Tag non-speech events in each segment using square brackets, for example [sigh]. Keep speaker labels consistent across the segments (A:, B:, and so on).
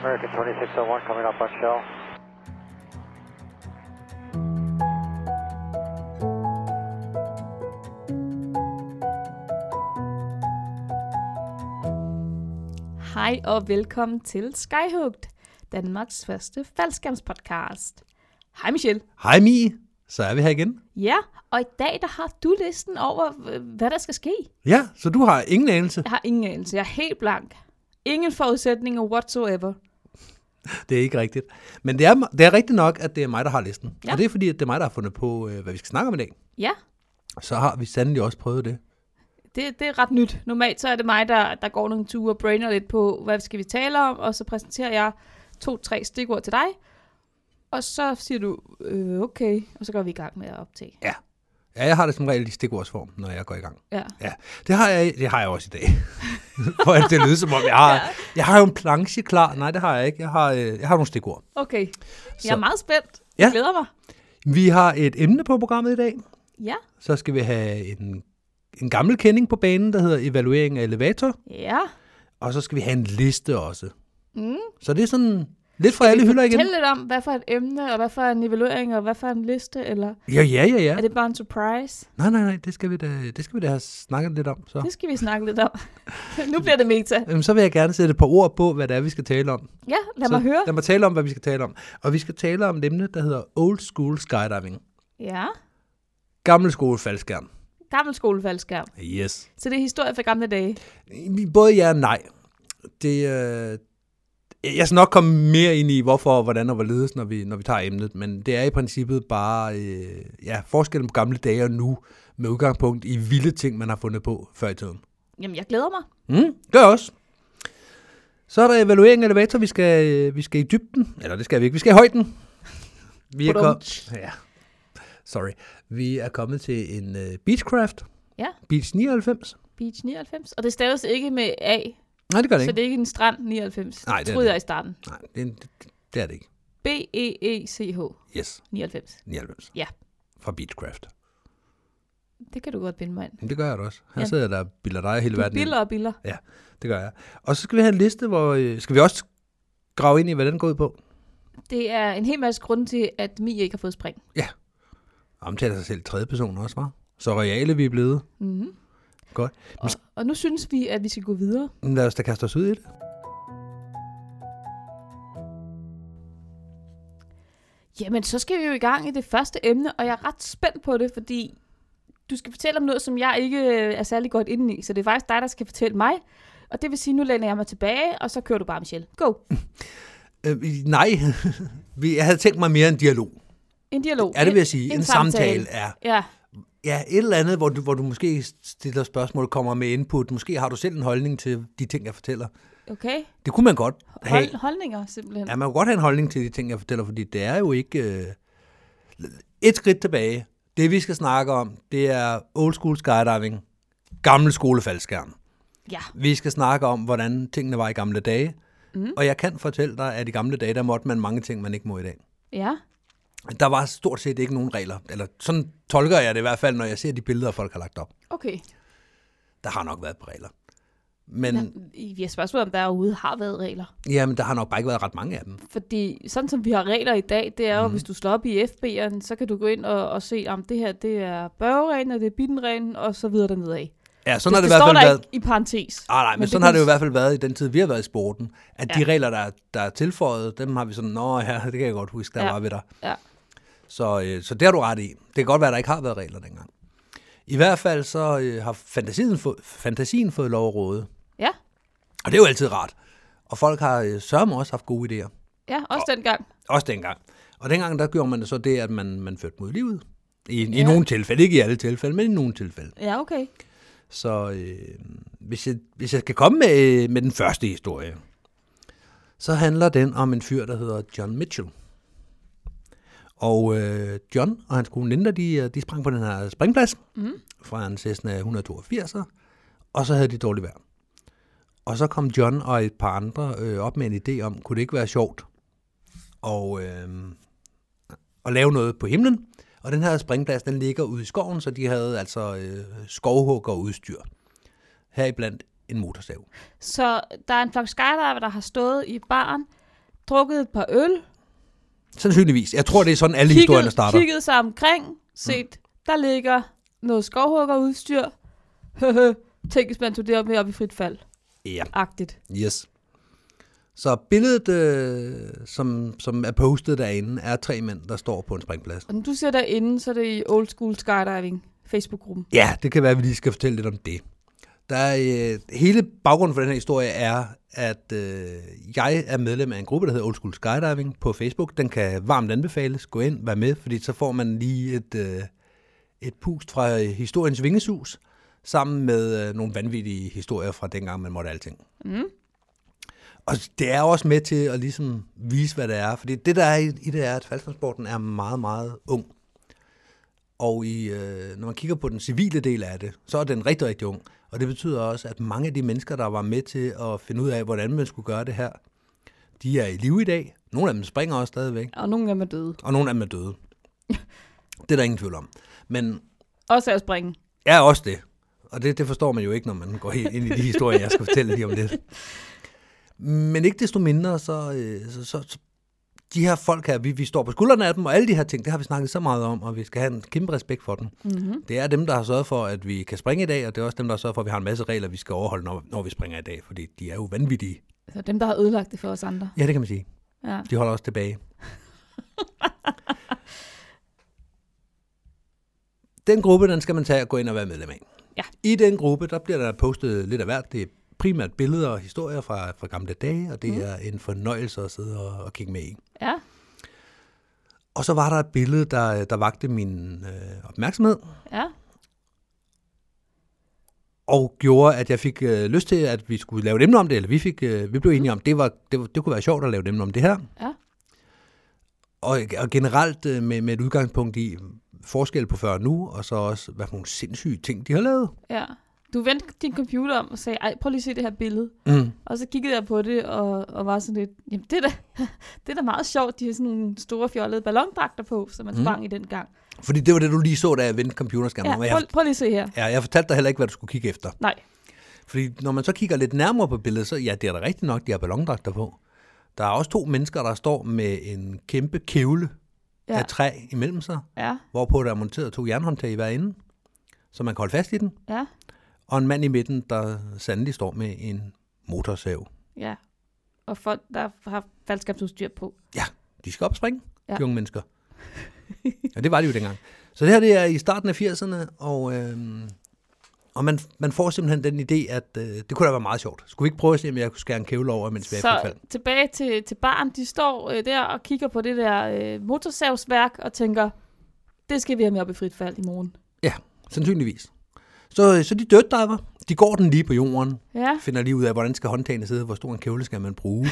A: American 2601 coming up on shell.
B: Hej og velkommen til Skyhooked, Danmarks første faldskærmspodcast. Hej Michelle.
C: Hej Mi, så er vi her igen.
B: Ja, og i dag der har du listen over, øh, hvad der skal ske.
C: Ja, så du har ingen anelse.
B: Jeg har ingen anelse. Jeg er helt blank. Ingen forudsætninger whatsoever.
C: Det er ikke rigtigt. Men det er, det er rigtigt nok, at det er mig, der har listen.
B: Ja.
C: Og det er fordi, at det er mig, der har fundet på, øh, hvad vi skal snakke om i dag.
B: Ja,
C: Så har vi sandelig også prøvet det.
B: det, det er ret nyt. Normalt så er det mig, der, der går nogle ture og brainer lidt på, hvad skal vi tale om, og så præsenterer jeg to-tre stikord til dig, og så siger du, øh, okay, og så går vi i gang med at optage.
C: Ja, jeg har det som regel i stikordsform, når jeg går i gang.
B: Ja.
C: Ja, det har jeg, det har jeg også i dag. [laughs] For at det lyder som om, jeg har, jeg har jo en planche klar. Nej, det har jeg ikke. Jeg har, øh, jeg har nogle stikord.
B: Okay, jeg er
C: Så-
B: meget spændt.
C: Ja.
B: Jeg glæder mig.
C: Vi har et emne på programmet i dag.
B: Ja.
C: Så skal vi have en, en gammel kending på banen, der hedder evaluering af elevator.
B: Ja.
C: Og så skal vi have en liste også.
B: Mm.
C: Så det er sådan lidt fra alle hylder igen.
B: Fortæl lidt om, hvad for et emne, og hvad for en evaluering, og hvad for en liste, eller
C: Ja, ja, ja, ja.
B: er det bare en surprise?
C: Nej, nej, nej, det skal vi da, det skal vi da have snakket lidt om. Så.
B: Det skal vi snakke lidt om.
C: [laughs]
B: nu bliver det meta.
C: Jamen, så vil jeg gerne sætte et par ord på, hvad det er, vi skal tale om.
B: Ja, lad
C: så
B: mig høre.
C: Lad mig tale om, hvad vi skal tale om. Og vi skal tale om et emne, der hedder old school skydiving.
B: Ja.
C: Gammel skole faldskærm.
B: Gammel skolefaldskærm.
C: Yes.
B: Så det er historie fra gamle dage.
C: Vi- Både ja og nej. Det, øh, jeg skal nok komme mere ind i, hvorfor, hvordan og hvorledes, når vi, når vi tager emnet. Men det er i princippet bare øh, ja, forskellen på gamle dage og nu, med udgangspunkt i vilde ting, man har fundet på før i tiden.
B: Jamen, jeg glæder mig.
C: Mm, gør også. Så er der evaluering af elevator. Vi skal, øh, vi skal i dybden. Eller det skal vi ikke. Vi skal i højden. Vi er, kom- ja. Sorry. vi er kommet til en øh, Beechcraft.
B: Ja.
C: Beach 99.
B: Beach 99. Og det staves ikke med A,
C: Nej, det gør det
B: så
C: ikke.
B: det er ikke en strand 99.
C: Nej, det er
B: troede
C: det.
B: jeg i starten. E
C: Nej, det, er en- det, det er det ikke.
B: B-E-E-C-H
C: Yes,
B: 99.
C: 99.
B: Ja.
C: Fra Beechcraft.
B: Det kan du godt binde mig ind.
C: Men det gør jeg da også. Her
B: Ja.
C: ja. sidder jeg der og bilder dig hele
B: Du
C: verden. ind.
B: biller og biller.
C: Det gør jeg. Og så skal vi have en liste, hvor... Øh, skal vi også grave ind i, hvad den går ud på?
B: Det er en hel masse grunde til, at Mi ikke har fået spring.
C: Omtaler sig selv tredje person også, var. Så reale vi er blevet.
B: Mm-hmm.
C: Godt.
B: Og, og nu synes vi, at vi skal gå videre.
C: Lad os da kaste os ud i det.
B: Jamen, så skal vi jo i gang i det første emne, og jeg er ret spændt på det, fordi du skal fortælle om noget, som jeg ikke øh, er særlig godt inde i. Så det er faktisk dig, der skal fortælle mig. Og det vil sige, nu læner jeg mig tilbage, og så kører du bare, Michelle. Go!
C: Øh, nej, [laughs] Vi- jeg havde tænkt mig mere en dialog.
B: En dialog.
C: Er det, vil jeg sige.
B: En
C: En, en samtale.
B: samtale.
C: er.
B: Ja,
C: Ja, et eller andet, hvor du, hvor du måske stiller spørgsmål, kommer med input. Måske har du selv en holdning til de ting, jeg fortæller.
B: okay.
C: Det kunne man godt have.
B: Hold, holdninger, simpelthen.
C: Ja, man kunne godt have en holdning til de ting, jeg fortæller, fordi det er jo ikke... Øh, et skridt tilbage. Det, vi skal snakke om, det er old school skydiving. Gammel skolefaldskærm.
B: Ja.
C: Vi skal snakke om, hvordan tingene var i gamle dage. Mm. Og jeg kan fortælle dig, at i gamle dage, der måtte man mange ting, man ikke må i dag.
B: Ja.
C: Der var stort set ikke nogen regler. Eller sådan tolker jeg det i hvert fald, når jeg ser de billeder, folk har lagt op.
B: Okay.
C: Der har nok været regler. Men
B: Ja, jeg spørgsmålet, om der overhovedet har været regler.
C: jamen, der har nok bare ikke været ret mange af dem.
B: Fordi sådan som vi har regler i dag, det er
C: Mhm.
B: jo, mm. hvis du slår op i FB'eren, så kan du gå ind og, og se, om det her det er børgereglen, og det er bittenreglen, og så videre dernede af.
C: Ja, sådan har det
B: det
C: i hvert
B: står
C: fald
B: der
C: været.
B: ikke i parentes.
C: Ah, nej, men,
B: Men
C: men sådan
B: det
C: har
B: kan-
C: det jo i hvert fald været i den tid, vi har været i sporten. At ja.
B: Ja.
C: de regler, der er, der er tilføjet, dem har vi sådan, nå ja, det kan jeg godt huske, der
B: Ja.
C: ja. var vi der.
B: Ja.
C: Så, øh, så det har du ret i. Det kan godt være, at der ikke har været regler dengang. I hvert fald så øh, har fantasien, få, fantasien fået lov at råde.
B: Ja,
C: Og det er jo altid rart. Og folk har øh, sørme også haft gode idéer.
B: ja også oh. dengang.
C: Også dengang. Og dengang, der gjorde man det så det, at man, man førte mod livet. I, ja.
B: Ja.
C: I nogle tilfælde. Ikke i alle tilfælde, men i nogle tilfælde.
B: Ja, okay.
C: Så øh, hvis, jeg, hvis jeg skal komme med, øh, med den første historie, så handler den om en fyr, der hedder John Mitchell. Og øh, John og hans kone Linda, de, øh, de sprang på den her springplads mm. fra en Cessna 182, og så havde de dårligt vejr. Og så kom John og et par andre øh, op med en idé om, kunne det ikke være sjovt og, øh, at lave noget på himlen? Og den her springplads, den ligger ude i skoven, så de havde altså øh, skovhugger udstyr. Heriblandt en motorsav.
B: Så der er en flok skydiver, der har stået i baren, drukket et par øl,
C: Sandsynligvis. Jeg tror, det er sådan, alle kigget, historierne starter. Kigget.
B: kigget sig omkring, set, mm. der ligger noget skovhuggerudstyr. [laughs] Tænk, hvis man tog det op med op i frit fald.
C: Ja.
B: Agtigt.
C: Yes. Så billedet, øh, som, som er postet derinde, er tre mænd, der står på en springplads.
B: Og når du ser derinde, så er det i Old School Skydiving Facebook-gruppen.
C: Ja, det kan være, at vi lige skal fortælle lidt om det. Der er, øh, hele baggrunden for den her historie er, at øh, jeg er medlem af en gruppe, der hedder Old School Skydiving på Facebook. Den kan varmt anbefales. Gå ind, vær med, fordi så får man lige et, øh, et pust fra øh, historiens vingesus, sammen med øh, nogle vanvittige historier fra dengang, man måtte alting.
B: Mm.
C: Og det er også med til at ligesom vise, hvad det er. Fordi det, der er i, i det, er, at faldskærmsporten er meget, meget ung. Og i, øh, når man kigger på den civile del af det, så er den rigtig, rigtig ung. Og det betyder også, at mange af de mennesker, der var med til at finde ud af, hvordan man skulle gøre det her, de er i live i dag. Nogle af dem springer også stadigvæk,
B: Og nogle af dem er døde.
C: og nogle af dem er døde. Det er der ingen tvivl om. Men
B: Også af at springe.
C: Ja, også det. Og det, det forstår man jo ikke, når man går helt ind i de historier, jeg skal fortælle lige om lidt. Men ikke desto mindre, så, øh, så, så, så de her folk her, vi, vi står på skuldrene af dem, og alle de her ting, det har vi snakket så meget om, og vi skal have en kæmpe respekt for dem.
B: Mm-hmm.
C: Det er dem, der har sørget for, at vi kan springe i dag, og det er også dem, der har sørget for, at vi har en masse regler, vi skal overholde, når, når vi springer i dag, fordi de er jo vanvittige.
B: Så dem, der har ødelagt det for os andre.
C: Ja, det kan man sige.
B: Ja.
C: De holder også tilbage. den gruppe, den skal man tage og gå ind og være medlem af.
B: Ja.
C: I den gruppe, der bliver der postet lidt af hvert. Det er primært billeder og historier fra, fra gamle dage, og det mm. er en fornøjelse at sidde og, og kigge med i.
B: ja.
C: Og så var der et billede, der, der vagte min øh, opmærksomhed,
B: Ja.
C: og gjorde, at jeg fik øh, lyst til, at vi skulle lave et emne om det, eller vi, fik, øh, vi blev enige om, det, var, det, var, det kunne være sjovt at lave et emne om det her.
B: Ja.
C: Og, og generelt øh, med, med et udgangspunkt i forskel på før og nu, og så også, hvad for nogle sindssyge ting, de har lavet.
B: Ja. Du vendte din computer om og sagde, ej, prøv lige at se det her billede.
C: Mm.
B: Og så kiggede jeg på det og, og var sådan lidt, jamen det er, da, [laughs] det er da meget sjovt, de har sådan nogle store fjollede ballondragter på, som man
C: Mm.
B: sprang i den gang.
C: Fordi det var det, du lige så, da jeg vendte
B: Ja,
C: computerskærmen.
B: ja
C: om, og
B: prøv,
C: jeg,
B: prøv lige at se her.
C: ja, jeg fortalte dig heller ikke, hvad du skulle kigge efter.
B: Nej,
C: Fordi når man så kigger lidt nærmere på billedet, så ja, det er da rigtigt nok, de har ballondragter på. Der er også to mennesker, der står med en kæmpe kævle ja.
B: ja,
C: af træ imellem sig,
B: ja,
C: hvorpå der er monteret to jernhåndtag i hver ende, så man kan holde fast i den.
B: ja,
C: Og en mand i midten, der sandelig står med en motorsav.
B: ja. Og folk, der har faldskabsudstyr på.
C: de skal op og springe,
B: Ja.
C: ja. de unge mennesker. ja, det var det jo dengang. Så det her det er i starten af 80'erne, og, øh, og man, man får simpelthen den idé, at øh, det kunne da være meget sjovt. Skulle vi ikke prøve at se, om jeg kunne skære en kævle over, mens vi er i frit fald?
B: Så tilbage til, til barn, de står øh, der og kigger på det der øh, motorsavsværk og tænker, det skal vi have med op i frit fald i morgen.
C: Ja, sandsynligvis. Så, så de døddiver, de går den lige på jorden,
B: Ja,
C: finder lige ud af, hvordan skal håndtagene sidde, hvor stor en kævle skal man bruge.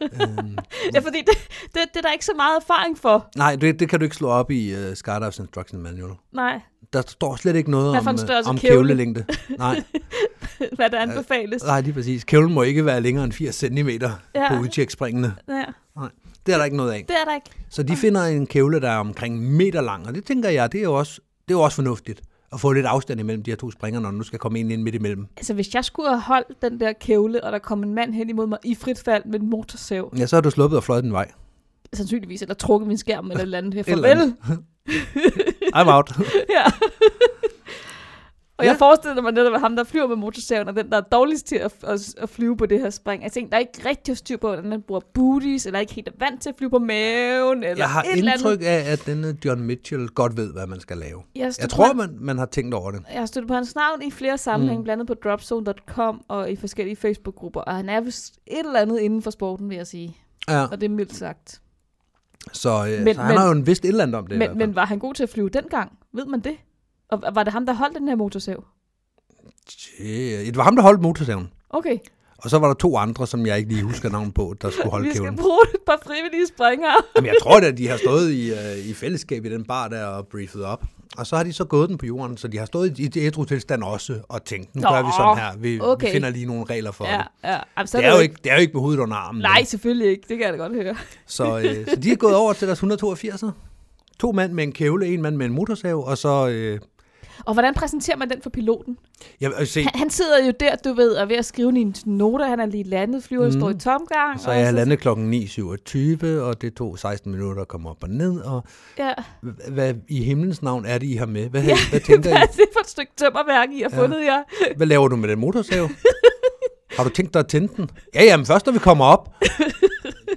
C: øhm,
B: ja fordi det, det, det er der ikke så meget erfaring for.
C: nej, det, det kan du ikke slå op i uh, Skydives Instruction Manual.
B: Nej, [laughs]
C: Der står slet ikke noget
B: Hvad for en
C: om, øh,
B: størrelse
C: om
B: kævle? [laughs]
C: kævlelængde. Nej,
B: hvad der anbefales.
C: Nej, lige præcis. Kævlen må ikke være længere end 80 cm ja.
B: Ja.
C: på udtjekspringene.
B: Ja,
C: Det er der ikke noget af.
B: det er der ikke.
C: Så de finder en kævle, der er omkring en meter lang, og det tænker jeg, det er jo også, det er jo også fornuftigt at få lidt afstand imellem de her to springer, når nu skal komme en ind midt imellem.
B: Altså, hvis jeg skulle have holdt den der kævle, og der kom en mand hen imod mig i frit fald med en motorsav,
C: Ja, så har du sluppet og fløjet den vej.
B: sandsynligvis, eller trukket min skærm eller et eller andet her,
C: Eller
B: farvel.
C: andet. I'm out.
B: [laughs] ja. og
C: Ja.
B: jeg forestillede mig netop, at ham, der flyver med motorsaven, og den, der er dårligst til at, at, at flyve på det her spring. Altså, en, der er ikke rigtig har styr på, hvordan man bruger booties, eller ikke helt er vant til at flyve på maven, eller
C: Jeg har
B: et eller andet.
C: indtryk af, at denne John Mitchell godt ved, hvad man skal lave.
B: Jeg, stødte
C: Jeg
B: på
C: tror,
B: han-
C: man, man har tænkt over det.
B: Jeg har støttet på hans navn i flere sammenhænge, mm.
C: Mm.
B: blandt andet på dropzone.com og i forskellige Facebook-grupper, og han er vist et eller andet inden for sporten, vil jeg sige.
C: Ja,
B: Og det er mildt sagt.
C: så, øh,
B: Men-
C: men, så han
B: men-
C: har jo en vist et eller andet om det. i hvert
B: Men,
C: fald.
B: men var han god til at flyve dengang? Ved man det? Og var det ham, der holdt den her motorsav?
C: Shit. Det var ham, der holdt motorsaven.
B: Okay,
C: Og så var der to andre, som jeg ikke lige husker navn på, der skulle holde
B: vi skal
C: kævlen.
B: bruge et par frivillige springere.
C: Jamen, jeg tror da, de har stået i, øh, i fællesskab i den bar der og briefet op. Og så har de så gået den på jorden, så de har stået i et etrotilstand også og tænkt, nu
B: Nå,
C: gør vi sådan her. Vi, okay.
B: okay.
C: vi finder lige nogle regler for
B: Ja,
C: ja. det.
B: ja. Jamen, så
C: Det er, jo ikke, det er jo ikke på hovedet under armen.
B: Nej,
C: vel?
B: selvfølgelig ikke. Det kan jeg da godt høre.
C: Så, øh, så de er gået over til deres 182'er. To mand med en kævle, en mand med en motorsav, og så øh,
B: Og hvordan præsenterer man den for piloten?
C: Jeg vil se,
B: Han, han sidder jo der, du ved, og er ved at skrive en note. Han er lige landet, flyver mm. står i tomgang.
C: Mhm. så
B: og
C: jeg landede klokken 9.27, og det tog 16 minutter at komme op og ned, og
B: Ja,
C: h- hvad i himlens navn er det, I har med? Hvad,
B: Ja, [laughs]
C: hvad tænker
B: hvad
C: I?
B: er det for et stykke tømmerværk, I har
C: Ja.
B: ja. fundet jer?
C: Hvad laver du med den motorsav? Har du tænkt dig at tænde den? Ja, jamen først, når vi kommer op.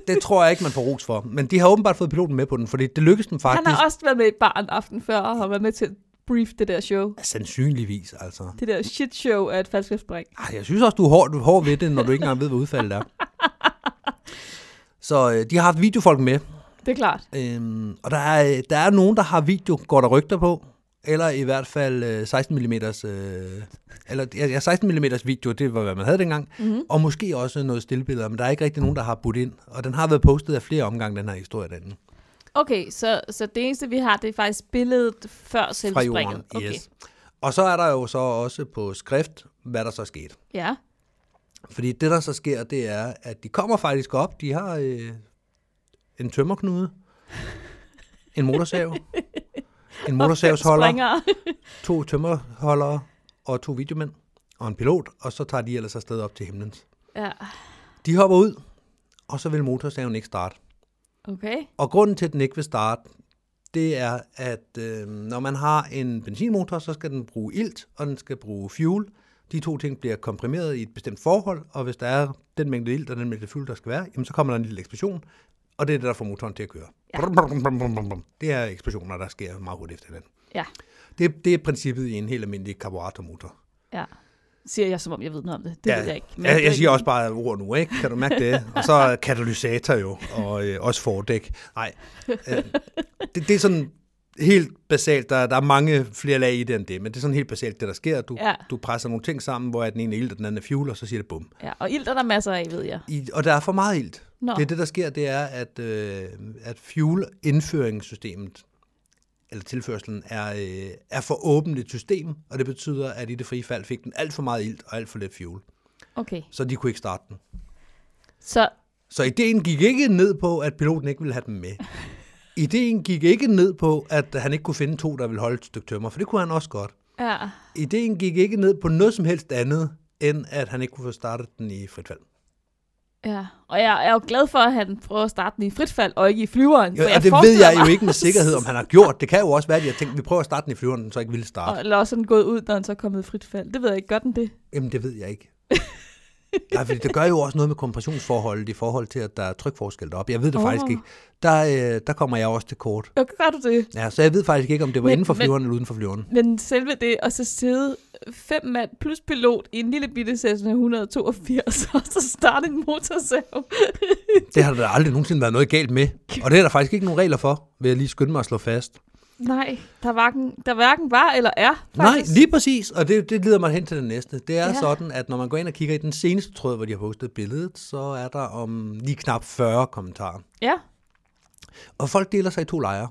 C: Det tror jeg ikke, man får ros for. Men de har åbenbart fået piloten med på den, fordi det lykkedes dem
B: Han
C: faktisk.
B: har også været med i barn aften før, og har været med til at brief det der show.
C: Sandsynligvis, altså.
B: Det der shit show af et falskabsspring.
C: Ej, jeg synes også, du er hård, du er hård ved det, når du ikke engang ved, hvad udfaldet er. Så øh, de har haft videofolk med,
B: Det er klart.
C: øhm, og der er, øh, der er nogen, der har video, går der rygter på, eller i hvert fald øh, 16 mm, øh, eller ja, ja, 16 mm video, det var, hvad man havde dengang,
B: Mhm.
C: mm-hmm. og måske også noget stillbilleder, men der er ikke rigtig nogen, der har budt ind, og den har været postet af flere omgange, den her historie derinde.
B: Okay, så, så det eneste, vi har, det er faktisk billedet før selve
C: Fra
B: springet.
C: jorden,
B: Okay.
C: yes. Og så er der jo så også på skrift, hvad der så skete.
B: Ja.
C: Fordi det, der så sker, det er, at de kommer faktisk op. De har øh, en tømmerknude, en motorsav,
B: [laughs]
C: en motorsavsholder,
B: Springer. [laughs]
C: to tømmerholdere og to videomænd og en pilot, og så tager de ellers afsted op til himlen.
B: ja.
C: De hopper ud, og så vil motorsaven ikke starte.
B: Okay.
C: Og grunden til, at den ikke vil starte, det er, at øh, når man har en benzinmotor, så skal den bruge ilt, og den skal bruge fuel. De to ting bliver komprimeret i et bestemt forhold, og hvis der er den mængde ilt og den mængde fuel, der skal være, jamen, så kommer der en lille eksplosion, og det er det, der får motoren til at køre.
B: Ja.
C: Brum, brum, brum, brum, brum, brum. Det er eksplosioner, der sker meget hurtigt efter hinanden.
B: Ja.
C: Det, det er princippet i en helt almindelig karburatormotor.
B: Ja. Siger jeg, som om jeg ved noget om det. Det ved jeg ikke.
C: jeg, jeg
B: det-
C: siger også bare ord nu, ikke? Kan du mærke det? Og så
B: [laughs]
C: er katalysator jo, og øh, også fordæk. Nej, øh, det, det er sådan helt basalt. Der, der er mange flere lag i det end det, men det er sådan helt basalt, det der sker. Du,
B: Ja.
C: du presser nogle ting sammen, hvor den ene er ild, og den anden er fuel, og så siger det bum.
B: Ja, og ild er der masser af, ved jeg.
C: I, og der er for meget ilt.
B: Nå.
C: Det er det, der sker, det er, at, øh, at fuel-indføringssystemet, eller tilførselen, er, øh, er for åbent et system, og det betyder, at i det frie fald fik den alt for meget ilt og alt for lidt fuel.
B: Okay.
C: Så de kunne ikke starte den.
B: Så
C: Så ideen gik ikke ned på, at piloten ikke ville have dem med. Ideen gik ikke ned på, at han ikke kunne finde to, der ville holde et stykke tømmer, for det kunne han også godt.
B: ja.
C: Ideen gik ikke ned på noget som helst andet, end at han ikke kunne få startet den i frit fald.
B: Ja, og jeg er jo glad for, at han prøver at starte den i frit fald, og ikke i flyveren.
C: Jo,
B: for
C: og det ved
B: forestiller
C: jeg jo
B: mig-
C: ikke med sikkerhed, om han har gjort. Det kan jo også være, at jeg tænkte, vi prøver at starte den i flyveren, den så ikke ville
B: [laughs] Og,
C: starte.
B: eller også er den gået ud, når han så er kommet i frit fald. Det ved jeg ikke. Gør den det?
C: Jamen, det ved jeg ikke. [laughs] Nej, fordi det gør jo også noget med kompressionsforholdet i forhold til, at der er trykforskel deroppe. Jeg ved det oh.
B: Åh.
C: faktisk ikke. Der, øh, der kommer jeg også til kort.
B: Jo, gør du det?
C: Ja, så jeg ved faktisk ikke, om det var
B: Men-
C: inden for
B: men-
C: flyveren eller uden for flyveren.
B: Men selve det, og så sidde fem mand plus pilot i en lille bitte Cessna 182, [laughs] og så starte en motorsav.
C: Det har der aldrig nogensinde været noget galt med. Og det er der faktisk ikke nogen regler for, vil jeg lige skynde mig at slå fast.
B: [laughs] Nej, der hverken, der hverken var eller er,
C: Nej,
B: faktisk.
C: lige præcis. Og det, det leder mig hen til det næste. Det er ja.
B: Ja.
C: sådan, at når man går ind og kigger i den seneste tråd, hvor de har postet billedet, så er der om lige knap 40 kommentarer.
B: Ja,
C: Og folk deler sig i to lejre.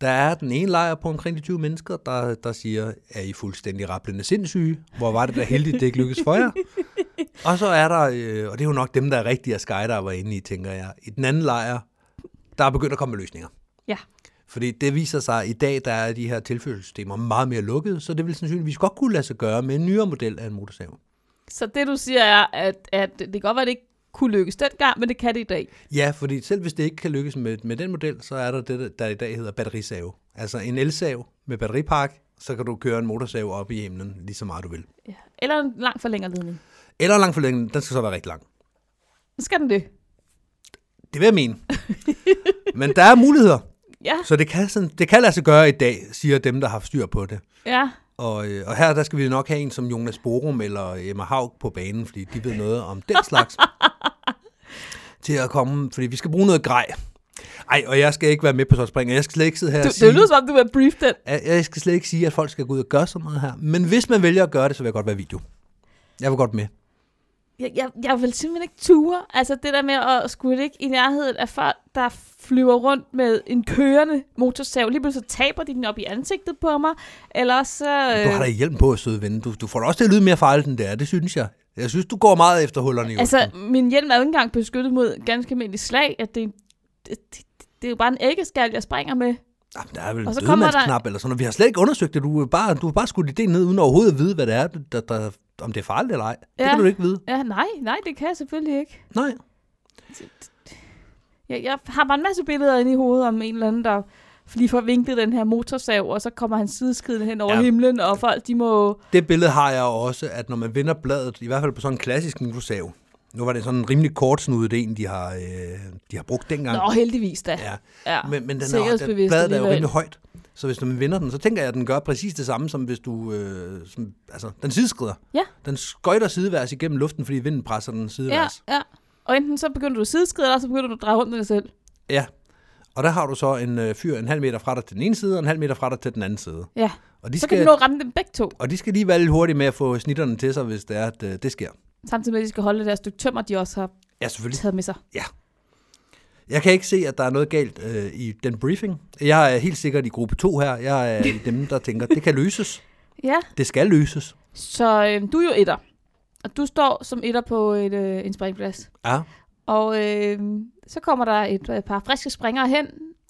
C: Der er den ene lejr på omkring de 20 mennesker, der, der siger, er I fuldstændig rappelende sindssyge? Hvor var det da heldigt, det ikke lykkedes for jer? Og så er der, øh, og det er jo nok dem, der er rigtige skydiver inde i, tænker jeg. I den anden lejr, der er begyndt at komme med løsninger.
B: ja.
C: Fordi det viser sig, at i dag der er de her tilførselssystemer meget mere lukkede, så det vil sandsynligvis godt kunne lade sig gøre med en nyere model af en motorsav.
B: Så det, du siger, er, at, at det kan godt være, at det ikke kunne lykkes dengang, men det kan det i dag.
C: Ja, fordi selv hvis det ikke kan lykkes med, med den model, så er der det, der i dag hedder batterisave. Altså en elsav med batteripark, så kan du køre en motorsav op i himlen lige så meget du vil.
B: Ja. Eller en langt for længere ledning.
C: Eller lang forlængning, den skal så være rigtig lang.
B: Skal den det?
C: Det vil jeg mene. Men der er muligheder,
B: Ja,
C: så det kan, sådan, det kan lade sig gøre i dag, siger dem, der har haft styr på det.
B: ja.
C: Og, øh, og her der skal vi nok have en som Jonas Borum eller Emma Haug på banen, fordi de ved noget om den
B: [laughs]
C: slags. til at komme, fordi vi skal bruge noget grej. Ej, og jeg skal ikke være med på sådan et spring, og jeg skal slet ikke sidde her
B: Du,
C: og sige,
B: det lyder som om, du vil brief den.
C: at, jeg skal slet ikke sige, at folk skal gå ud og gøre sådan noget her. Men hvis man vælger at gøre det, så vil jeg godt være video. Jeg vil godt med.
B: Jeg, jeg, jeg vil simpelthen ikke ture. Altså det der med at skulle ikke i nærheden af folk, der flyver rundt med en kørende motorsav. Lige pludselig så taber de den op i ansigtet på mig. Eller også så... øh,
C: Du har da hjelm på, søde ven. Du, du får da også til at lyde mere farligt, end det er. Det synes jeg. Jeg synes, du går meget efter hullerne i
B: altså,
C: osten.
B: min hjelm er jo ikke engang beskyttet mod ganske almindelig slag. At det, det, det, det er jo bare en æggeskal, jeg springer med.
C: Jamen, der er vel
B: Og
C: en
B: så kommer der-
C: dødmandsknap eller sådan noget. Vi har slet ikke undersøgt det. Du er bare, du har bare skudt idéen ned, uden overhovedet at vide, hvad det er, der, der, om det er farligt eller ej.
B: Ja.
C: Ja. Det kan du ikke vide.
B: Ja, nej, nej, det kan jeg selvfølgelig ikke.
C: Nej.
B: Jeg, jeg har bare en masse billeder inde i hovedet om en eller anden, der lige får vinklet den her motorsav, og så kommer han sideskridende hen over
C: Ja.
B: ja. himlen, og folk, de må...
C: Det billede har jeg også, at når man vender bladet, i hvert fald på sådan en klassisk mikrosav, nu var det sådan en rimelig kortsnudet en, de har, øh, de har brugt dengang.
B: Nå, heldigvis da.
C: Ja.
B: ja.
C: Men, men den er, den,
B: Sikkerhedsbevidst
C: bladet er jo
B: alligevel.
C: rimelig højt. Så hvis man vender den, så tænker jeg, at den gør præcis det samme, som hvis du... Øh, som, altså, den sideskrider.
B: Ja.
C: Den skøjter sideværs igennem luften, fordi vinden presser den
B: ja,
C: sideværs.
B: ja. Og enten så begynder du at sideskride, eller så begynder du at dreje rundt med dig selv.
C: Ja. ja. Og der har du så en øh, fyr en halv meter fra dig til den ene side, og en halv meter fra dig til den anden side.
B: Ja.
C: Og de,
B: Så kan
C: skal,
B: du nå at ramme dem begge to,
C: og de skal lige være lidt hurtige med at få snitterne til sig, hvis det er, at øh, det sker.
B: samtidig med, at de skal holde det der stykke tømmer, de også har
C: Ja, selvfølgelig.
B: taget med sig.
C: Jeg kan ikke se, at der er noget galt øh, i den briefing. Jeg er helt sikkert i gruppe 2 her. Jeg er i dem, der tænker, det kan løses.
B: Ja.
C: Det skal løses.
B: Så øh, du er jo etter. Og du står som etter på et, øh, en springplads.
C: Ja,
B: Og øh, så kommer der et øh, par friske springere hen.